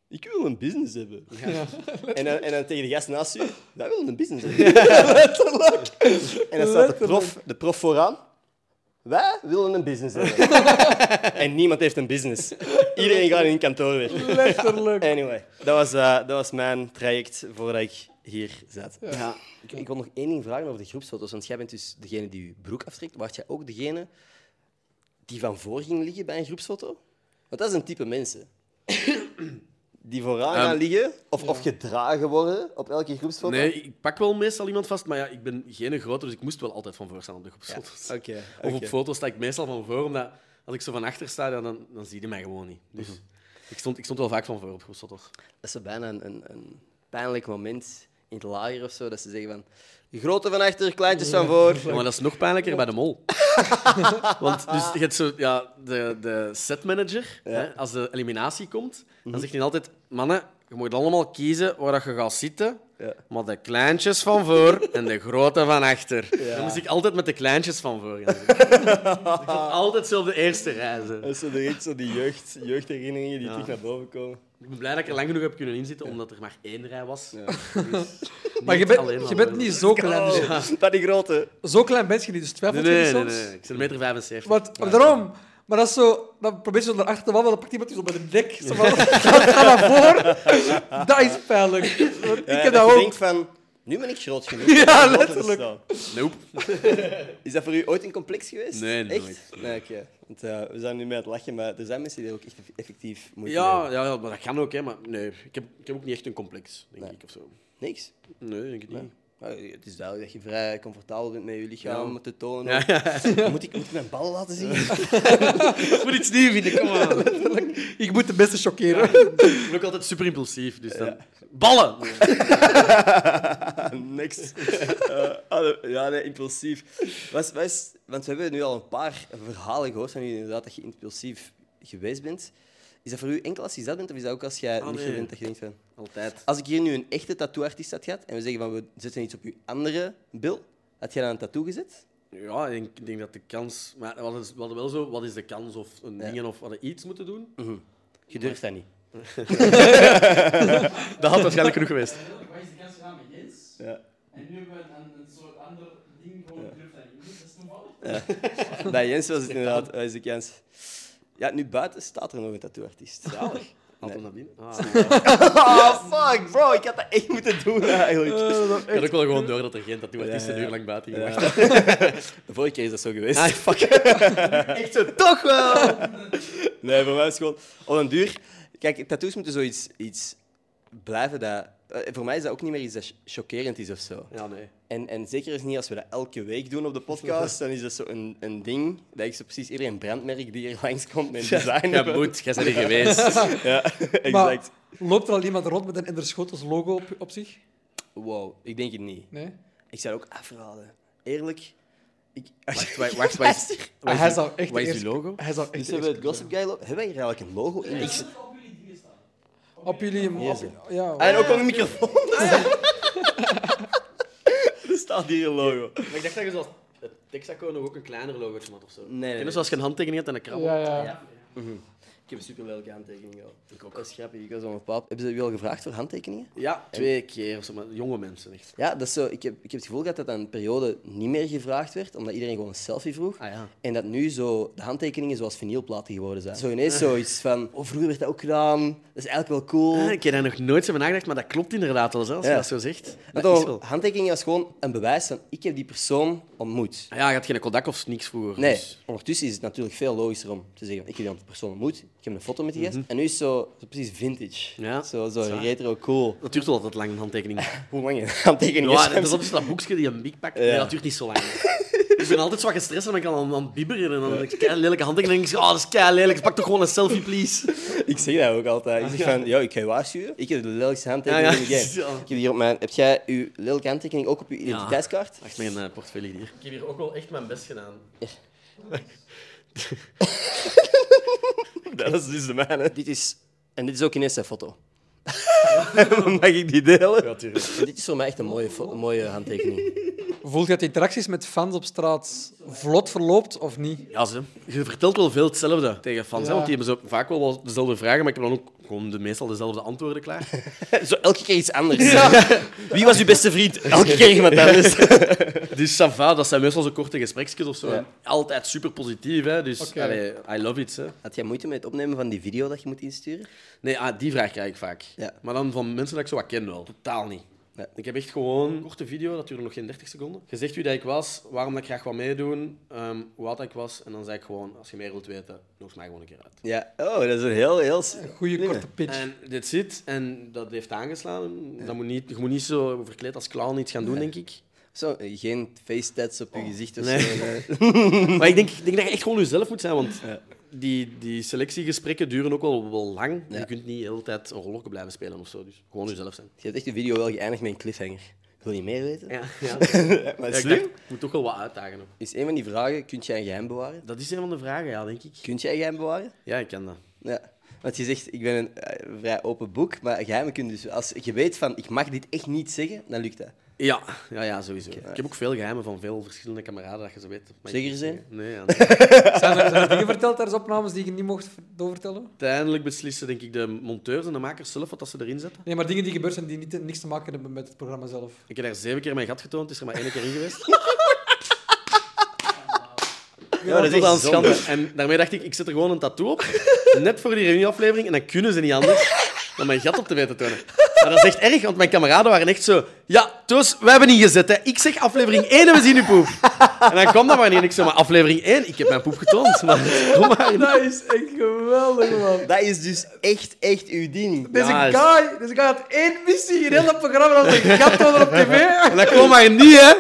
Speaker 1: Ik wil een business hebben.
Speaker 3: Ja.
Speaker 1: En dan, en dan tegen de gast naast u, wij willen een business hebben. Letterlijk. En dan staat de prof, de prof vooraan, wij willen een business hebben. en niemand heeft een business. Iedereen gaat in een kantoor werken.
Speaker 3: Letterlijk.
Speaker 1: Anyway, dat was, eh, dat was mijn traject voordat ik hier zat.
Speaker 2: Ja.
Speaker 1: Ik, ik wil nog één ding vragen over de groepsfoto's, want jij bent dus degene die je broek aftrekt. Was jij ook degene die van voor ging liggen bij een groepsfoto? Want dat is een type mensen. Die vooraan gaan
Speaker 2: Ehm,
Speaker 1: liggen of, of gedragen worden op elke groepsfoto?
Speaker 2: Nee, ik pak wel meestal iemand vast, maar ja, ik ben geen grote, dus ik moest wel altijd van voor staan op de groepsfoto's.
Speaker 1: Oké.
Speaker 2: Of
Speaker 1: oké.
Speaker 2: op foto's sta ik meestal van voor, omdat als ik zo van achter sta, ja, dan, dan zie je mij gewoon niet.
Speaker 1: Mhm.
Speaker 2: Dus ik, stond, ik stond wel vaak van voor op groepsfoto's.
Speaker 1: Dat is zo bijna een, een, een pijnlijk moment in het lager of zo, dat ze zeggen van... Grote van achter, kleintjes van voor.
Speaker 2: Ja, maar dat is nog pijnlijker bij de mol. Want dus, je hebt zo, ja, de, de setmanager, hè, als de eliminatie komt, dan zegt hij altijd: Mannen, je moet allemaal kiezen waar dat je gaat zitten.
Speaker 1: Ja.
Speaker 2: Maar de kleintjes van voor en de grote van achter. Dan moest ik altijd met de kleintjes van voor gaan zitten. Dus ik zat altijd zo op de eerste rij. zo.
Speaker 1: Dat zijn direct zo die jeugd, jeugdherinneringen die
Speaker 2: Ja.
Speaker 1: terug naar boven komen.
Speaker 2: Ik ben blij dat ik er lang genoeg heb kunnen inzitten, omdat er maar één rij was. Dus
Speaker 3: Maar je
Speaker 2: niet alleen
Speaker 3: bent,
Speaker 2: maar
Speaker 3: je bent
Speaker 2: door.
Speaker 3: niet zo klein. dus-
Speaker 1: Dat die grote.
Speaker 3: Zo klein ben je niet, dus twijfel
Speaker 2: Nee,
Speaker 3: je niet
Speaker 2: nee, nee,
Speaker 3: soms.
Speaker 2: nee. Ik ben meter 75.
Speaker 3: Want, daarom. Maar dat is zo... Dan probeer je zo naar achter te wandelen, dan pakt iemand je zo bij de nek. Zo van, ga naar voren. Dat is pijnlijk. Want ik heb dat
Speaker 1: Eh, je
Speaker 3: ook.
Speaker 1: denkt van, nu ben ik groot genoeg. om
Speaker 3: Ja,
Speaker 1: op de foto te
Speaker 3: letterlijk.
Speaker 1: staan.
Speaker 2: Nope.
Speaker 1: Is dat voor u ooit een complex geweest?
Speaker 2: Nee,
Speaker 1: echt?
Speaker 2: nooit.
Speaker 1: Nee, oké. Want eh, we zijn nu met het lachen, maar er zijn mensen die dat ook echt eff- effectief moeten
Speaker 2: Ja, ja, ja, maar dat kan ook, hè. Maar nee, ik heb, ik heb ook niet echt een complex, denk ik, of zo.
Speaker 1: Niks.
Speaker 2: Nee, denk ik niet.
Speaker 1: Maar eh, het is duidelijk dat je vrij comfortabel bent met je lichaam
Speaker 2: Ja.
Speaker 1: om het te tonen. Moet, ik, moet ik mijn ballen laten zien?
Speaker 2: Ik moet iets nieuws vinden, kom aan.
Speaker 3: Ik moet de beste chockeren.
Speaker 2: Ik ben ook altijd super impulsief, dus dan... Ballen!
Speaker 1: Niks. Eh, ah, ja, nee, impulsief. Wat is- wat is- want we hebben nu al een paar verhalen gehoord van jullie inderdaad dat je impulsief geweest bent. Is dat voor u enkel als je zat bent, of is dat ook als jij niet
Speaker 2: Ah, nee.
Speaker 1: gewend dat je denkt van...
Speaker 2: Altijd.
Speaker 1: Als ik hier nu een echte tattooartiest had gehad en we zeggen van we zetten iets op je andere bil, had jij dan een tattoo gezet?
Speaker 2: Ja, ik denk, ik denk dat de kans... Maar we hadden, we hadden wel zo, wat is de kans of een
Speaker 1: Ja.
Speaker 2: dingen of we hadden iets moeten doen?
Speaker 1: Je durft dat niet.
Speaker 2: Dat had waarschijnlijk genoeg geweest.
Speaker 4: Wat is de kans gedaan met Jens? En nu hebben we een, een soort ander ding gewoon durf dat niet. Dat is toevallig.
Speaker 1: Bij Jens was het inderdaad, eh, is de kans. Ja, nu buiten staat er nog een tattooartiest.
Speaker 2: Zalig. Had
Speaker 1: Nee.
Speaker 2: hem naar binnen. Ah,
Speaker 1: Oh, fuck, bro, ik had dat echt moeten doen eigenlijk.
Speaker 2: Ik had ook wel gewoon door dat er geen tattooartiest een uur lang buiten gewacht had.
Speaker 1: De vorige keer is dat zo geweest. Ah, Echt zo, toch wel! Nee, voor mij is het gewoon... Op een duur... Kijk, tattoos moeten zoiets iets blijven dat... eh, Voor mij is dat ook niet meer iets dat ch- chockerend is of zo.
Speaker 2: Ja, nee.
Speaker 1: En, en zeker is niet als we dat elke week doen op de podcast, dan is dat zo een, een ding dat ik zo precies iedereen brandmerk die hier langskomt met een design
Speaker 2: Ja,
Speaker 1: heb.
Speaker 2: moet. Jij bent er geweest.
Speaker 1: Ja,
Speaker 3: Maar
Speaker 1: exact.
Speaker 3: loopt er al iemand rond met een Ender Schotels logo op, op zich?
Speaker 1: Wow, ik denk het niet.
Speaker 3: Nee?
Speaker 1: Ik zou het ook afraden. Eerlijk... Ik... Wacht,
Speaker 2: wacht, wacht, wacht.
Speaker 3: Ah, hij zou echt
Speaker 2: wat is
Speaker 3: de
Speaker 2: uw
Speaker 3: eerste-
Speaker 2: logo?
Speaker 3: Hij zou echt
Speaker 1: Dus
Speaker 3: de
Speaker 1: hebben we het
Speaker 3: eerste
Speaker 1: Gossip Guy logo. Hebben wij hier eigenlijk een logo in? Ik-
Speaker 3: Op jullie...
Speaker 1: Jezus.
Speaker 3: Op, ja,
Speaker 1: Ah, en ook al een microfoon. Er staat hier een logo.
Speaker 2: Maar ik dacht dat je zoals Texaco nog ook een kleiner logootje had of zo.
Speaker 1: nee,
Speaker 2: Ken
Speaker 1: nee.
Speaker 2: je zoals je een handtekening hebt en een krabbel?
Speaker 3: ja, ja.
Speaker 1: Ik heb een super lelijke handtekening al. Ik ook. Dat is grappig, ik was al een pap. Hebben ze u al gevraagd voor handtekeningen?
Speaker 2: Ja, twee keer of zo, maar jonge mensen echt.
Speaker 1: Ja, dat is zo. Ik heb, ik heb het gevoel gehad dat dat een periode niet meer gevraagd werd, omdat iedereen gewoon een selfie vroeg.
Speaker 2: Ah ja.
Speaker 1: En dat nu zo de handtekeningen zoals vinylplaten geworden zijn. Zo ineens zoiets van, oh, vroeger werd dat ook gedaan, dat is eigenlijk wel cool.
Speaker 2: Ah, ik heb daar nog nooit zo van nagedacht, maar dat klopt inderdaad wel, hè, als je
Speaker 1: Ja.
Speaker 2: dat zo zegt.
Speaker 1: En
Speaker 2: Dat
Speaker 1: dan,
Speaker 2: is wel.
Speaker 1: handtekeningen was gewoon een bewijs van, ik heb die persoon ontmoet.
Speaker 2: Ah Ja, je had geen Kodak of niks vroeger.
Speaker 1: Nee,
Speaker 2: dus-
Speaker 1: ondertussen is het natuurlijk veel logischer om te zeggen: ik heb die persoon ontmoet, ik heb een foto met die gast. En nu is het zo, zo precies vintage.
Speaker 2: Mhm. Ja,
Speaker 1: zo zo
Speaker 2: dat is waar.
Speaker 1: retro cool.
Speaker 2: Dat duurt wel altijd lang, een handtekening. Ja,
Speaker 1: Hoe lang je handtekening
Speaker 2: dat is altijd zo dat boekje die een big pakt. Nee, dat duurt niet zo lang. ik ben altijd zo wat gestrest en dan kan ik aan, aan het bibberen. En dan denk ik, kei lelijke handtekening. En dan denk ik, oh, dat is kei lelijk. Pak toch gewoon een selfie, please.
Speaker 1: Ik zeg dat ook altijd. Ik zeg van, yo, ik ga je waarschuwen. Ik heb de lelijkste handtekening
Speaker 2: Ja, ja.
Speaker 1: in de game.
Speaker 2: Ja.
Speaker 1: Ik heb hier op mijn... Heb jij je lelijke handtekening ook op je identiteitskaart?
Speaker 2: Wacht, mijn eh, portefeuille hier. Ik heb hier ook wel echt mijn best gedaan.
Speaker 1: Dat is dus de mijne. Dit is... En dit is ook ineens zijn foto. Mag ik die delen?
Speaker 2: Ja, tuurlijk.
Speaker 1: En dit is voor mij echt een mooie, fo- een mooie handtekening.
Speaker 3: Voelt je dat de interacties met fans op straat vlot verloopt of niet?
Speaker 2: Ja, ze. Je vertelt wel veel hetzelfde tegen fans, hè,
Speaker 3: Ja.
Speaker 2: want die hebben zo vaak wel wel dezelfde vragen, maar ik heb dan ook gewoon de, meestal dezelfde antwoorden klaar.
Speaker 1: Zo elke keer iets anders. Wie was uw beste vriend? Elke keer iemand anders.
Speaker 2: dus Sava, dat zijn meestal zo korte gesprekjes of zo.
Speaker 1: Ja.
Speaker 2: En Altijd super positief, hè? dus
Speaker 3: Oké.
Speaker 2: allee, I love it. Hè.
Speaker 1: Had jij moeite met het opnemen van die video dat je moet insturen?
Speaker 2: Nee, ah, die vraag krijg ik vaak.
Speaker 1: Ja.
Speaker 2: Maar dan van mensen dat ik zo wat ken wel. Totaal niet.
Speaker 1: Nee.
Speaker 2: Ik heb echt gewoon een korte video, dat duurde nog geen 30 seconden. Je zegt wie dat ik was, waarom dat ik graag wat meedoen, ehm, hoe oud dat ik was. En dan zei ik gewoon, als je meer wilt weten, nodig mij gewoon een keer uit.
Speaker 1: Ja, oh, dat is een heel, heel... s-
Speaker 3: Goeie korte pitch.
Speaker 2: En dit zit, en dat heeft aangeslagen. Dat moet niet, je moet niet zo verkleed als clown iets gaan doen, denk ik.
Speaker 1: Zo, eh, geen face tats op je gezicht of
Speaker 2: nee.
Speaker 1: zo. nee.
Speaker 2: Maar ik denk, ik denk dat je echt gewoon jezelf moet zijn, want die, die selectiegesprekken duren ook wel, wel lang.
Speaker 1: Ja.
Speaker 2: Je kunt niet de hele tijd rollokken blijven spelen of zo. Dus gewoon jezelf zijn.
Speaker 1: Je hebt echt de video wel geëindigd met een cliffhanger. Wil je meer weten?
Speaker 2: Ja, ja.
Speaker 1: maar
Speaker 2: ik dacht, ik moet toch wel wat uitdagen. Op.
Speaker 1: Is een van die vragen, kun jij een geheim bewaren?
Speaker 2: Dat is een van de vragen, ja, denk ik.
Speaker 1: Kun jij een geheim bewaren?
Speaker 2: Ja, ik ken dat.
Speaker 1: Ja. Want je zegt, ik ben een eh, vrij open boek, maar geheimen kun je dus... Als je weet van, ik mag dit echt niet zeggen, dan lukt dat.
Speaker 2: Ja, ja, ja sowieso. Ik heb ook veel geheimen van veel verschillende kameraden, dat je ze weet. Maar
Speaker 1: Zeker
Speaker 2: ik-
Speaker 1: zijn?
Speaker 2: Nee, ja, nee.
Speaker 3: Zijn er, zijn er dingen verteld tijdens opnames die je niet mocht ver- doorvertellen?
Speaker 2: Uiteindelijk beslissen, denk ik, de monteurs en de makers zelf wat dat ze erin zetten.
Speaker 3: Nee, maar dingen die gebeurd zijn die niet, eh, niks te maken hebben met het programma zelf.
Speaker 2: Ik heb daar zeven keer mijn gat getoond, het is er maar één keer in geweest.
Speaker 1: Ja, dat
Speaker 2: Tot aan
Speaker 1: is
Speaker 2: schande. En daarmee dacht ik, ik zet er gewoon een tattoo op, net voor die reunieaflevering, en dan kunnen ze niet anders dan mijn gat op te weten tonen. Maar dat is echt erg, want mijn kameraden waren echt zo... Ja, dus we hebben ingezet. Hè. Ik zeg aflevering 1 en we zien uw poep. En dan kwam dat maar niet. En ik zeg maar aflevering 1, ik heb mijn poep getoond. Maar het kon maar niet.
Speaker 3: Dat is echt geweldig, man.
Speaker 1: Dat is dus echt, echt uw ding.
Speaker 3: Deze
Speaker 2: Ja, is-
Speaker 3: guy, deze guy had één missie in heel dat programma, dat was een gat onder op tv.
Speaker 2: En dat kon maar niet, hè.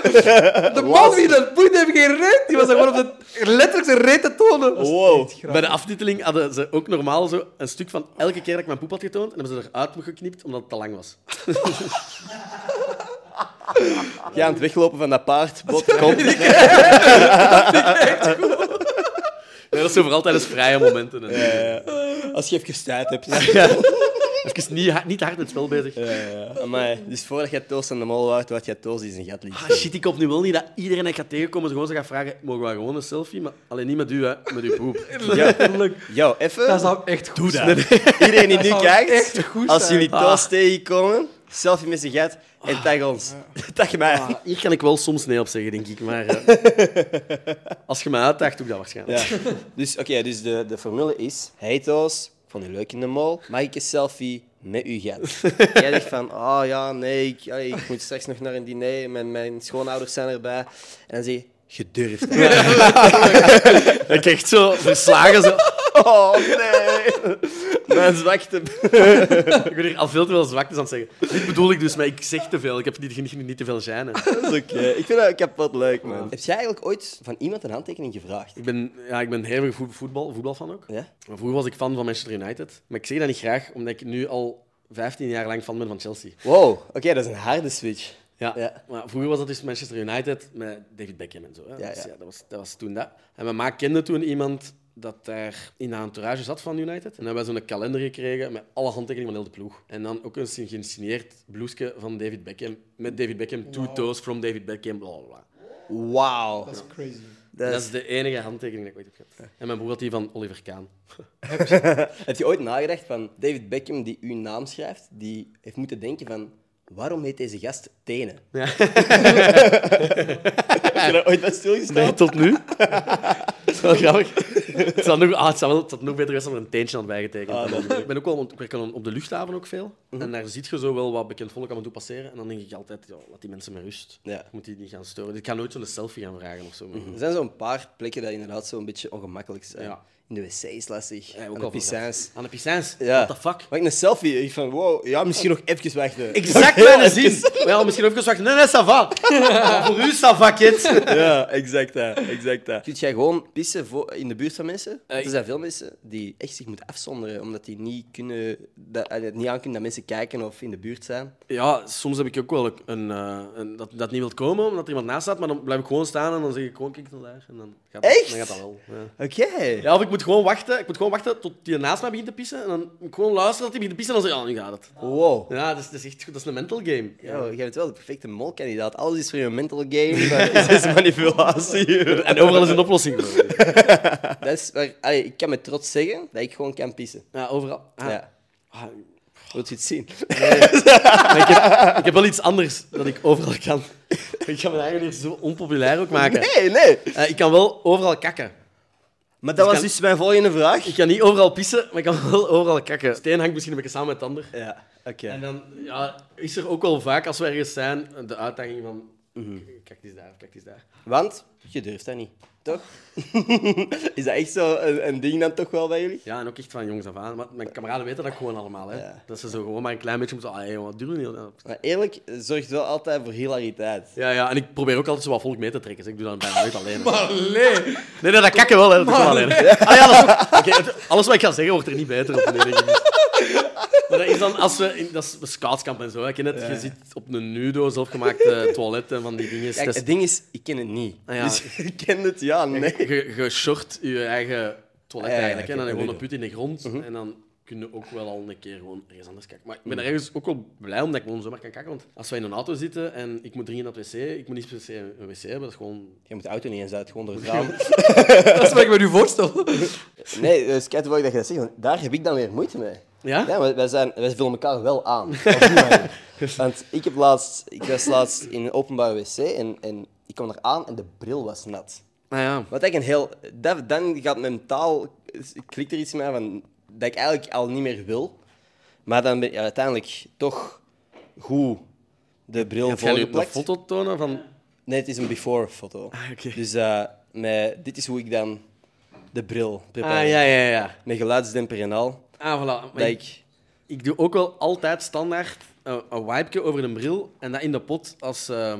Speaker 3: De man die dat boeit heeft geen reet, die was daar gewoon op de letterlijk zijn reet te tonen. Dat is
Speaker 1: Wow.
Speaker 3: echt
Speaker 2: Bij
Speaker 3: grappig.
Speaker 2: de aftiteling hadden ze ook normaal zo een stuk van elke keer dat ik mijn poep had getoond. En hebben ze eruit geknipt omdat het te lang was.
Speaker 1: Ja, aan het weglopen van dat paard. Bot, kom.
Speaker 2: Ja, dat is zo vooral tijdens vrije momenten. En,
Speaker 1: Als je even tijd hebt.
Speaker 2: Even niet, ha- niet te hard met het spel bezig.
Speaker 1: Amai. Dus voordat jij Toos aan de mol waart, wat jij Toos die zijn gat liet.
Speaker 2: Ah, shit, ik hoop nu wel niet dat iedereen dat ik ga tegenkomen gewoon zo gaat vragen, mogen we gewoon een selfie? Maar alleen niet met u, hè. Met uw poep.
Speaker 3: Letterlijk.
Speaker 1: Yo, even.
Speaker 3: Dat zou echt goed zijn.
Speaker 1: Iedereen die
Speaker 3: Dat
Speaker 1: nu
Speaker 3: zou
Speaker 1: kijkt,
Speaker 3: echt goed
Speaker 1: als
Speaker 3: zijn. Ah.
Speaker 1: jullie Toos tegenkomen, selfie met zijn gat en tag ons.
Speaker 3: Ah.
Speaker 1: Tag mij.
Speaker 2: Hier kan ik wel soms nee op zeggen, denk ik. Maar eh, als je mij uitdaagt, doe ik dat waarschijnlijk.
Speaker 1: Ja. Dus oké, dus de, de formule is: Hey Toos, vond je leuk in de mol? Mag ik een selfie met u gaan? Jij zegt van: Oh ja, nee, ik, ja, ik moet straks nog naar een diner, mijn, mijn schoonouders zijn erbij. En dan zeg je: Gedurfd.
Speaker 2: Ik krijg echt zo verslagen. Zo.
Speaker 1: Oh nee, mijn zwakte.
Speaker 2: Ik ben hier al veel te veel zwaktes aan het zeggen. Dit bedoel ik dus, maar ik zeg te veel. Ik heb niet, niet, niet te veel zijn.
Speaker 1: Dat is oké. Ik vind dat kapot leuk, man. Heb jij eigenlijk ooit van iemand een handtekening gevraagd?
Speaker 2: Ik ben, ja, ik ben hevig voet- voetbal, voetbalfan ook.
Speaker 1: Ja?
Speaker 2: Maar vroeger was ik fan van Manchester United. Maar ik zeg dat niet graag, omdat ik nu al 15 jaar lang fan ben van Chelsea.
Speaker 1: Wow, oké, dat is een harde switch.
Speaker 2: Ja.
Speaker 1: Ja.
Speaker 2: Maar vroeger was dat dus Manchester United met David Beckham en zo. Hè.
Speaker 1: Ja,
Speaker 2: Dus
Speaker 1: ja.
Speaker 2: dat, was, dat was toen dat. En mijn ma kende toen iemand dat daar in de entourage zat van United. En dan hebben wij zo'n kalender gekregen met alle handtekeningen van heel de ploeg. En dan ook een sin- gesigneerd bloesje van David Beckham. Met David Beckham, two toes from David Beckham, bla bla bla.
Speaker 1: Wauw.
Speaker 3: Dat is crazy.
Speaker 1: Dat
Speaker 2: Dat
Speaker 1: is-
Speaker 2: is de enige handtekening die ik ooit heb gehad. En mijn broer had die van Oliver Kaan.
Speaker 1: Heb je ooit nagedacht van David Beckham die uw naam schrijft, die heeft moeten denken van waarom heet deze gast Tenen?
Speaker 2: Ja.
Speaker 1: Heb je daar ooit bij stilgestaan?
Speaker 2: tot nu. dat is wel grappig. Het zou nog, ah, het zou wel, het had nog beter geweest om er een teentje aan bijgetekend. te hebben. Ik ben ook wel, want ik werk al op de luchthaven ook veel. En daar zie je zo wel wat bekend volk aan me toe passeren. En dan denk ik altijd, ja, laat die mensen met rust.
Speaker 1: Ja.
Speaker 2: Ik moet die niet gaan storen. Ik ga nooit zo'n selfie gaan vragen of zo. maar-
Speaker 1: Er zijn zo'n paar plekken die inderdaad zo'n beetje ongemakkelijk zijn.
Speaker 2: Ja.
Speaker 1: In de wc is lastig,
Speaker 2: Ja, ook
Speaker 1: aan de
Speaker 2: al
Speaker 1: piscins.
Speaker 2: Aan de piscins?
Speaker 1: Ja.
Speaker 2: What the fuck?
Speaker 1: Maak een selfie, ik van wow, ja, misschien nog even wachten.
Speaker 2: Exact mijn zin. Maar ja, misschien ook eens wacht. Nee, nee, ça va. Maar voor u, ça va, kid.
Speaker 1: Ja, exact dat, exact dat. Kun jij gewoon pissen voor, in de buurt van mensen? Want er zijn veel mensen die echt zich moeten afzonderen, omdat die niet, kunnen, dat, eh, het niet aan kunnen dat mensen kijken of in de buurt zijn.
Speaker 2: Ja, soms heb ik ook wel een, eh, een- dat, dat niet wilt komen omdat er iemand naast staat, maar dan blijf ik gewoon staan en dan zeg ik gewoon kijk naar daar. En dan gaat, dat-
Speaker 1: Echt?
Speaker 2: dan gaat dat wel. Ja.
Speaker 1: Oké.
Speaker 2: Ja, of ik moet gewoon wachten. Ik moet gewoon wachten tot die naast mij begint te pissen. En dan moet ik gewoon luisteren tot hij begint te pissen. En dan zeg ik, ja, nu gaat het.
Speaker 1: Wow.
Speaker 2: Ja, dat is, dat is echt goed. Dat is een mental game.
Speaker 1: Ja, jij bent wel de perfecte molkandidaat. Alles is voor je mental game, maar het is een manipulatie.
Speaker 2: En overal is een oplossing. voor.
Speaker 1: Dat is waar, allee, ik kan met trots zeggen dat ik gewoon kan pissen.
Speaker 2: Ja, overal. Ah.
Speaker 1: Ja.
Speaker 2: Ah,
Speaker 1: Wilt je het zien?
Speaker 2: ik heb wel iets anders dat ik overal kan. Ik ga me eigenlijk hier zo onpopulair ook maken.
Speaker 1: Nee, nee.
Speaker 2: Eh, ik kan wel overal kakken.
Speaker 1: Maar dat was
Speaker 2: kan-
Speaker 1: dus mijn volgende vraag.
Speaker 2: Ik kan niet overal pissen, maar ik kan wel overal kakken. Het een hangt misschien een beetje samen met het ander.
Speaker 1: Ja, oké.
Speaker 2: En dan ja, is er ook wel vaak, als we ergens zijn, de uitdaging van... Kijk, die is daar, kijk, die is daar.
Speaker 1: Want je durft dat niet, toch? is dat echt zo een, een ding dan toch wel bij jullie?
Speaker 2: Ja, en ook echt van jongs af aan. Maar mijn kameraden weten dat gewoon allemaal. Hè.
Speaker 1: Ja.
Speaker 2: Dat ze zo gewoon maar een klein beetje moeten... Ah, hey, jongen, wat duurt niet?
Speaker 1: Maar eerlijk, het zorgt wel altijd voor hilariteit.
Speaker 2: Ja, ja, en ik probeer ook altijd zo wat volk mee te trekken. Dus ik doe dat bijna nooit alleen. hè.
Speaker 3: Allee.
Speaker 2: Nee, nee, dat kakken wel, hè. Dat doe ik wel alleen. Ah, ja, dat is ook... Oké, het- alles wat ik ga zeggen wordt er niet beter op. Nee, denk ik niet. Maar dat is dan als we... In, dat is een scoutskamp en zo. Hè. Ken het? Je zit op een nudo, zelfgemaakte toilet en van die dingen.
Speaker 1: Kijk,
Speaker 2: Dat is-
Speaker 1: het ding is, ik ken het niet.
Speaker 2: Ah, ja.
Speaker 1: Dus ik ken het, ja, nee.
Speaker 2: Je, je short je eigen toilet
Speaker 1: Ja, ja,
Speaker 2: eigenlijk.
Speaker 1: oké,
Speaker 2: hè. en dan
Speaker 1: oké, Mhm.
Speaker 2: gewoon een put in de grond. En dan kun je ook wel al een keer gewoon ergens anders kakken. Maar ik
Speaker 1: Mhm.
Speaker 2: ben ergens ook wel blij omdat ik gewoon zomaar kan kakken. Want als wij in een auto zitten en ik moet dringend naar het wc, ik moet niet per se een wc hebben. Dat is gewoon...
Speaker 1: Je moet de auto niet eens uit, gewoon door het raam.
Speaker 3: Dat is wat ik me nu voorstel.
Speaker 1: Nee, dus kijk wat ik dat je dat zegt, want daar heb ik dan weer moeite mee.
Speaker 2: Ja?
Speaker 1: Ja, maar wij, zijn, wij vullen elkaar wel aan. Op die manier. Want ik, heb laatst, ik was laatst in een openbare wc en, en ik kwam er aan en de bril was nat.
Speaker 2: Nou
Speaker 3: Ah,
Speaker 2: ja.
Speaker 1: Wat ik een heel... Dat, dan gaat mentaal... Klikt er iets mee van... Dat ik eigenlijk al niet meer wil. Maar dan ben ik uiteindelijk toch goed de bril
Speaker 2: Ga je een
Speaker 1: voorgeplakt.
Speaker 2: foto tonen van...
Speaker 1: Nee, het is een before-foto.
Speaker 2: oké.
Speaker 1: Dus eh, met, dit is hoe ik dan de bril prepareer.
Speaker 2: Ah, ja, ja, ja.
Speaker 1: Met geluidsdemper en al.
Speaker 2: Ah, voilà. Maar
Speaker 1: Dat
Speaker 2: ik,
Speaker 1: ik...
Speaker 2: ik doe ook wel altijd standaard een, een wipeje over een bril en dat in de pot als, ehm,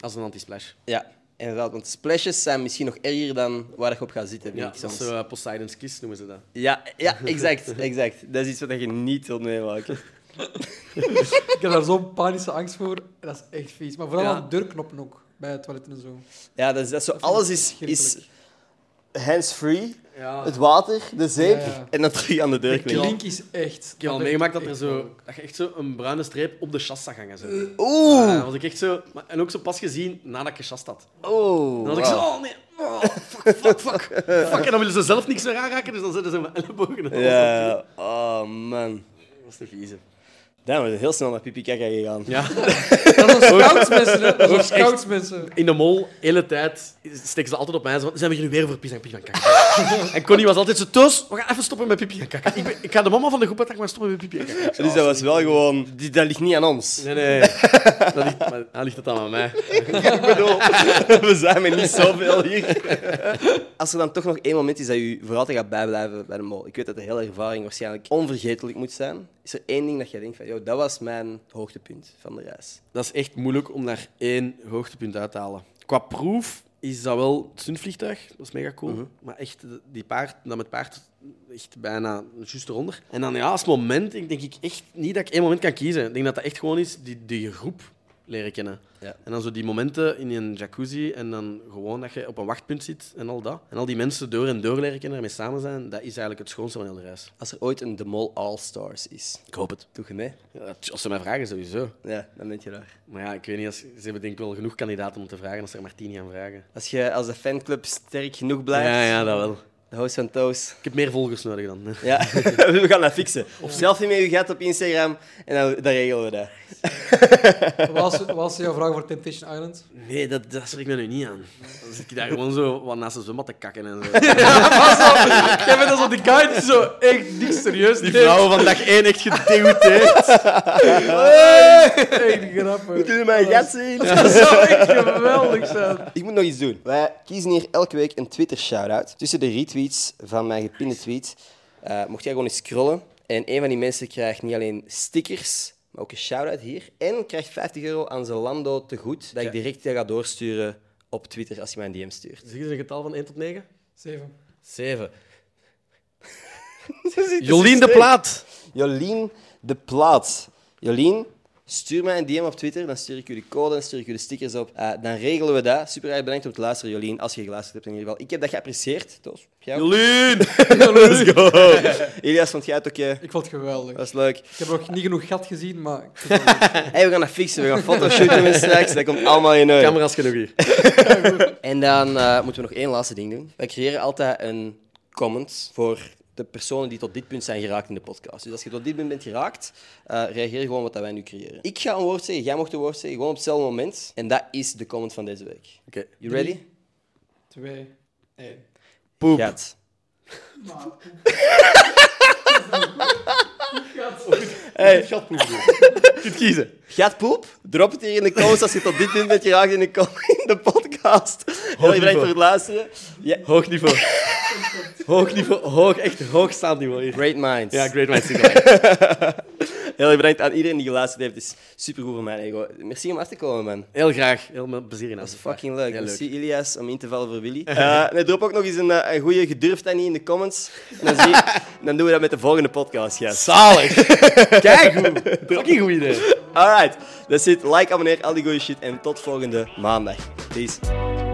Speaker 2: als een anti-splash.
Speaker 1: Ja, inderdaad. Want splashes zijn misschien nog erger dan waar ik op ga zitten, vind
Speaker 2: Ja,
Speaker 1: ik
Speaker 2: dat
Speaker 1: soms.
Speaker 2: is eh, Poseidon's Kiss, noemen ze dat.
Speaker 1: Ja, ja exact, exact. Dat is iets wat je niet wilt meemaken.
Speaker 3: Ik heb daar zo'n panische angst voor. Dat is echt vies. Maar vooral
Speaker 2: Ja.
Speaker 3: aan deurknoppen ook, bij het toilet en zo.
Speaker 1: Ja, dus dat is, dat is zo,
Speaker 3: vind
Speaker 1: alles
Speaker 3: ik
Speaker 1: is, is
Speaker 3: verschrikkelijk.
Speaker 1: hands-free.
Speaker 2: Ja.
Speaker 1: Het water, de zeep
Speaker 3: Ja, ja.
Speaker 1: en dan terug aan de deur
Speaker 3: De
Speaker 1: klinken.
Speaker 3: klink is echt...
Speaker 2: Ik heb al meegemaakt dat, er zo, dat je echt zo een bruine streep op de chas zag hangen. Zo.
Speaker 1: Eh, Oeh!
Speaker 2: Ja, Eh, was ik echt zo, maar- en ook zo pas gezien nadat ik gechast had.
Speaker 1: Oeh!
Speaker 2: Dan was ik zo, oh nee, oh, fuck, fuck, fuck, fuck. En dan willen ze zelf niks meer aanraken, dus dan zetten ze mijn ellebogen op.
Speaker 1: Ja, oh man.
Speaker 2: Dat was de vieze.
Speaker 1: Daar we heel snel naar pipi kaka gegaan.
Speaker 2: Ja,
Speaker 3: Dat zijn scoutsmensen, hè. Dat zijn scoutsmensen.
Speaker 2: in de mol, hele tijd, steken ze altijd op mij. Ze van, zijn we hier nu weer voor pipi en pipi aan het kakken? en Connie was altijd zo, Toos, we gaan even stoppen met pipi en kakken. Ik, ben- ik ga de mama van de groep uitdagen, maar stoppen met pipi en kakken. Ik zei,
Speaker 1: Dus dat was wel gewoon... die- Dat ligt niet aan ons.
Speaker 2: Nee, nee, dat ligt, maar, dan ligt het dan aan mij.
Speaker 1: Ik bedoel, we zijn met niet zoveel hier. Als er dan toch nog één moment is dat je voor altijd gaat bijblijven bij de mol, ik weet dat de hele ervaring waarschijnlijk onvergetelijk moet zijn, is er één ding dat jij denkt van, joh, dat was mijn hoogtepunt van de reis.
Speaker 2: Dat is echt moeilijk om daar één hoogtepunt uit te halen. Qua proef is dat wel het zundvliegtuig. Dat is mega cool. Maar echt, de- die paard, dat met paard, echt bijna juist eronder. En dan ja, als moment denk denk ik echt niet dat ik één moment kan kiezen. Ik denk dat dat echt gewoon is die, die groep leren kennen.
Speaker 1: Ja.
Speaker 2: En dan zo die momenten in een jacuzzi en dan gewoon dat je op een wachtpunt zit en al dat. En al die mensen door en door leren kennen, ermee samen zijn, dat is eigenlijk het schoonste van heel de reis.
Speaker 1: Als er ooit een De Mol All-Stars is,
Speaker 2: Ik hoop het.
Speaker 1: doe je mee?
Speaker 2: als ze mij vragen, sowieso.
Speaker 1: Ja, dan ben je daar.
Speaker 2: Maar ja, ik weet niet, als, ze hebben denk ik wel genoeg kandidaten om te vragen als ze er maar tien gaan vragen.
Speaker 1: Als, je, als de fanclub sterk genoeg blijft,
Speaker 2: Ja, ja, dat wel.
Speaker 1: de host van Toos,
Speaker 2: Ik heb meer volgers nodig dan.
Speaker 1: ja, we gaan dat fixen. Of selfie met je gat op Instagram en dan, dan regelen we dat.
Speaker 3: Wat was- wat was jouw vraag voor Temptation Island?
Speaker 2: Nee, dat, dat spreekt me nu niet aan. Dan zit ik daar gewoon zo wat naast de zwembad te kakken en zo.
Speaker 3: Jij bent als die guy die zo echt niet serieus
Speaker 2: Die vrouwen van dag één echt gedegoteerd.
Speaker 3: Echt grappig.
Speaker 1: Kunnen mijn gat zien?
Speaker 3: Dat zou echt geweldig zijn.
Speaker 1: Ik moet nog iets doen. Wij kiezen hier elke week een Twitter-shout-out. Tussen de retweets van mijn gepinde tweet eh, mocht jij gewoon eens scrollen. En een van die mensen krijgt niet alleen stickers, maar ook een shout-out hier. En krijgt 50 euro aan Zalando te goed, dat ik direct ga doorsturen op Twitter als je mij een DM stuurt.
Speaker 2: Zeg eens een getal van 1 tot 9.
Speaker 3: Zeven.
Speaker 2: 7. Jolien de Plaat.
Speaker 1: Jolien de Plaat. Jolien, stuur mij een DM op Twitter, dan stuur ik jullie code, dan stuur ik jullie stickers op. Eh, dan regelen we dat. Super erg bedankt om te luisteren, Jolien, als je geluisterd hebt in ieder geval. Ik heb dat geapprecieerd, Toos. Jij ook?
Speaker 2: Jolien!
Speaker 1: Let's go! Elias, vond jij het ook... eh,
Speaker 3: Ik vond het geweldig.
Speaker 1: Dat is leuk.
Speaker 3: Ik heb nog niet genoeg gat gezien, maar ik vind het wel
Speaker 1: Hey, we gaan dat fixen, we gaan fotoshooten met straks, dat komt allemaal in orde.
Speaker 2: Camera's genoeg hier.
Speaker 1: En dan eh, moeten we nog één laatste ding doen. Wij creëren altijd een comment voor de personen die tot dit punt zijn geraakt in de podcast. Dus als je tot dit punt bent geraakt, eh, reageer gewoon wat dat wij nu creëren. Ik ga een woord zeggen, jij mocht een woord zeggen, gewoon op hetzelfde moment. En dat is de comment van deze week.
Speaker 2: Oké.
Speaker 1: You ready?
Speaker 3: twee. één.
Speaker 2: Poep.
Speaker 1: Gaat.
Speaker 2: Hey. Je kunt kiezen.
Speaker 1: Gaat poep? Drop het hier in de comments als je tot dit punt bent geraakt in de, com- in de podcast. Heel erg bedankt
Speaker 2: niveau.
Speaker 1: voor het luisteren. Ja.
Speaker 2: Hoog niveau. Hoog niveau. Hoog, echt hoogstaand niveau hier.
Speaker 1: Great minds.
Speaker 2: Ja, Great Minds Think
Speaker 1: Heel erg bedankt aan iedereen die geluisterd heeft. Het is supergoed voor mijn ego. Merci om af te komen, man.
Speaker 2: Heel graag. Heel veel plezier in
Speaker 1: Dat is fucking leuk.
Speaker 2: Heel
Speaker 1: Merci Ilias om in te vallen voor Willy. Eh, nee, drop ook nog eens een, eh, een goede gedurfd en niet in de comments. En dan, zie, dan doen we dat met de volgende podcast, yes.
Speaker 2: Zalig. Kijk hoe. Fucking goed idee.
Speaker 1: Alright, that's it. Like, abonneer, al die goede shit. En tot volgende maandag. Peace.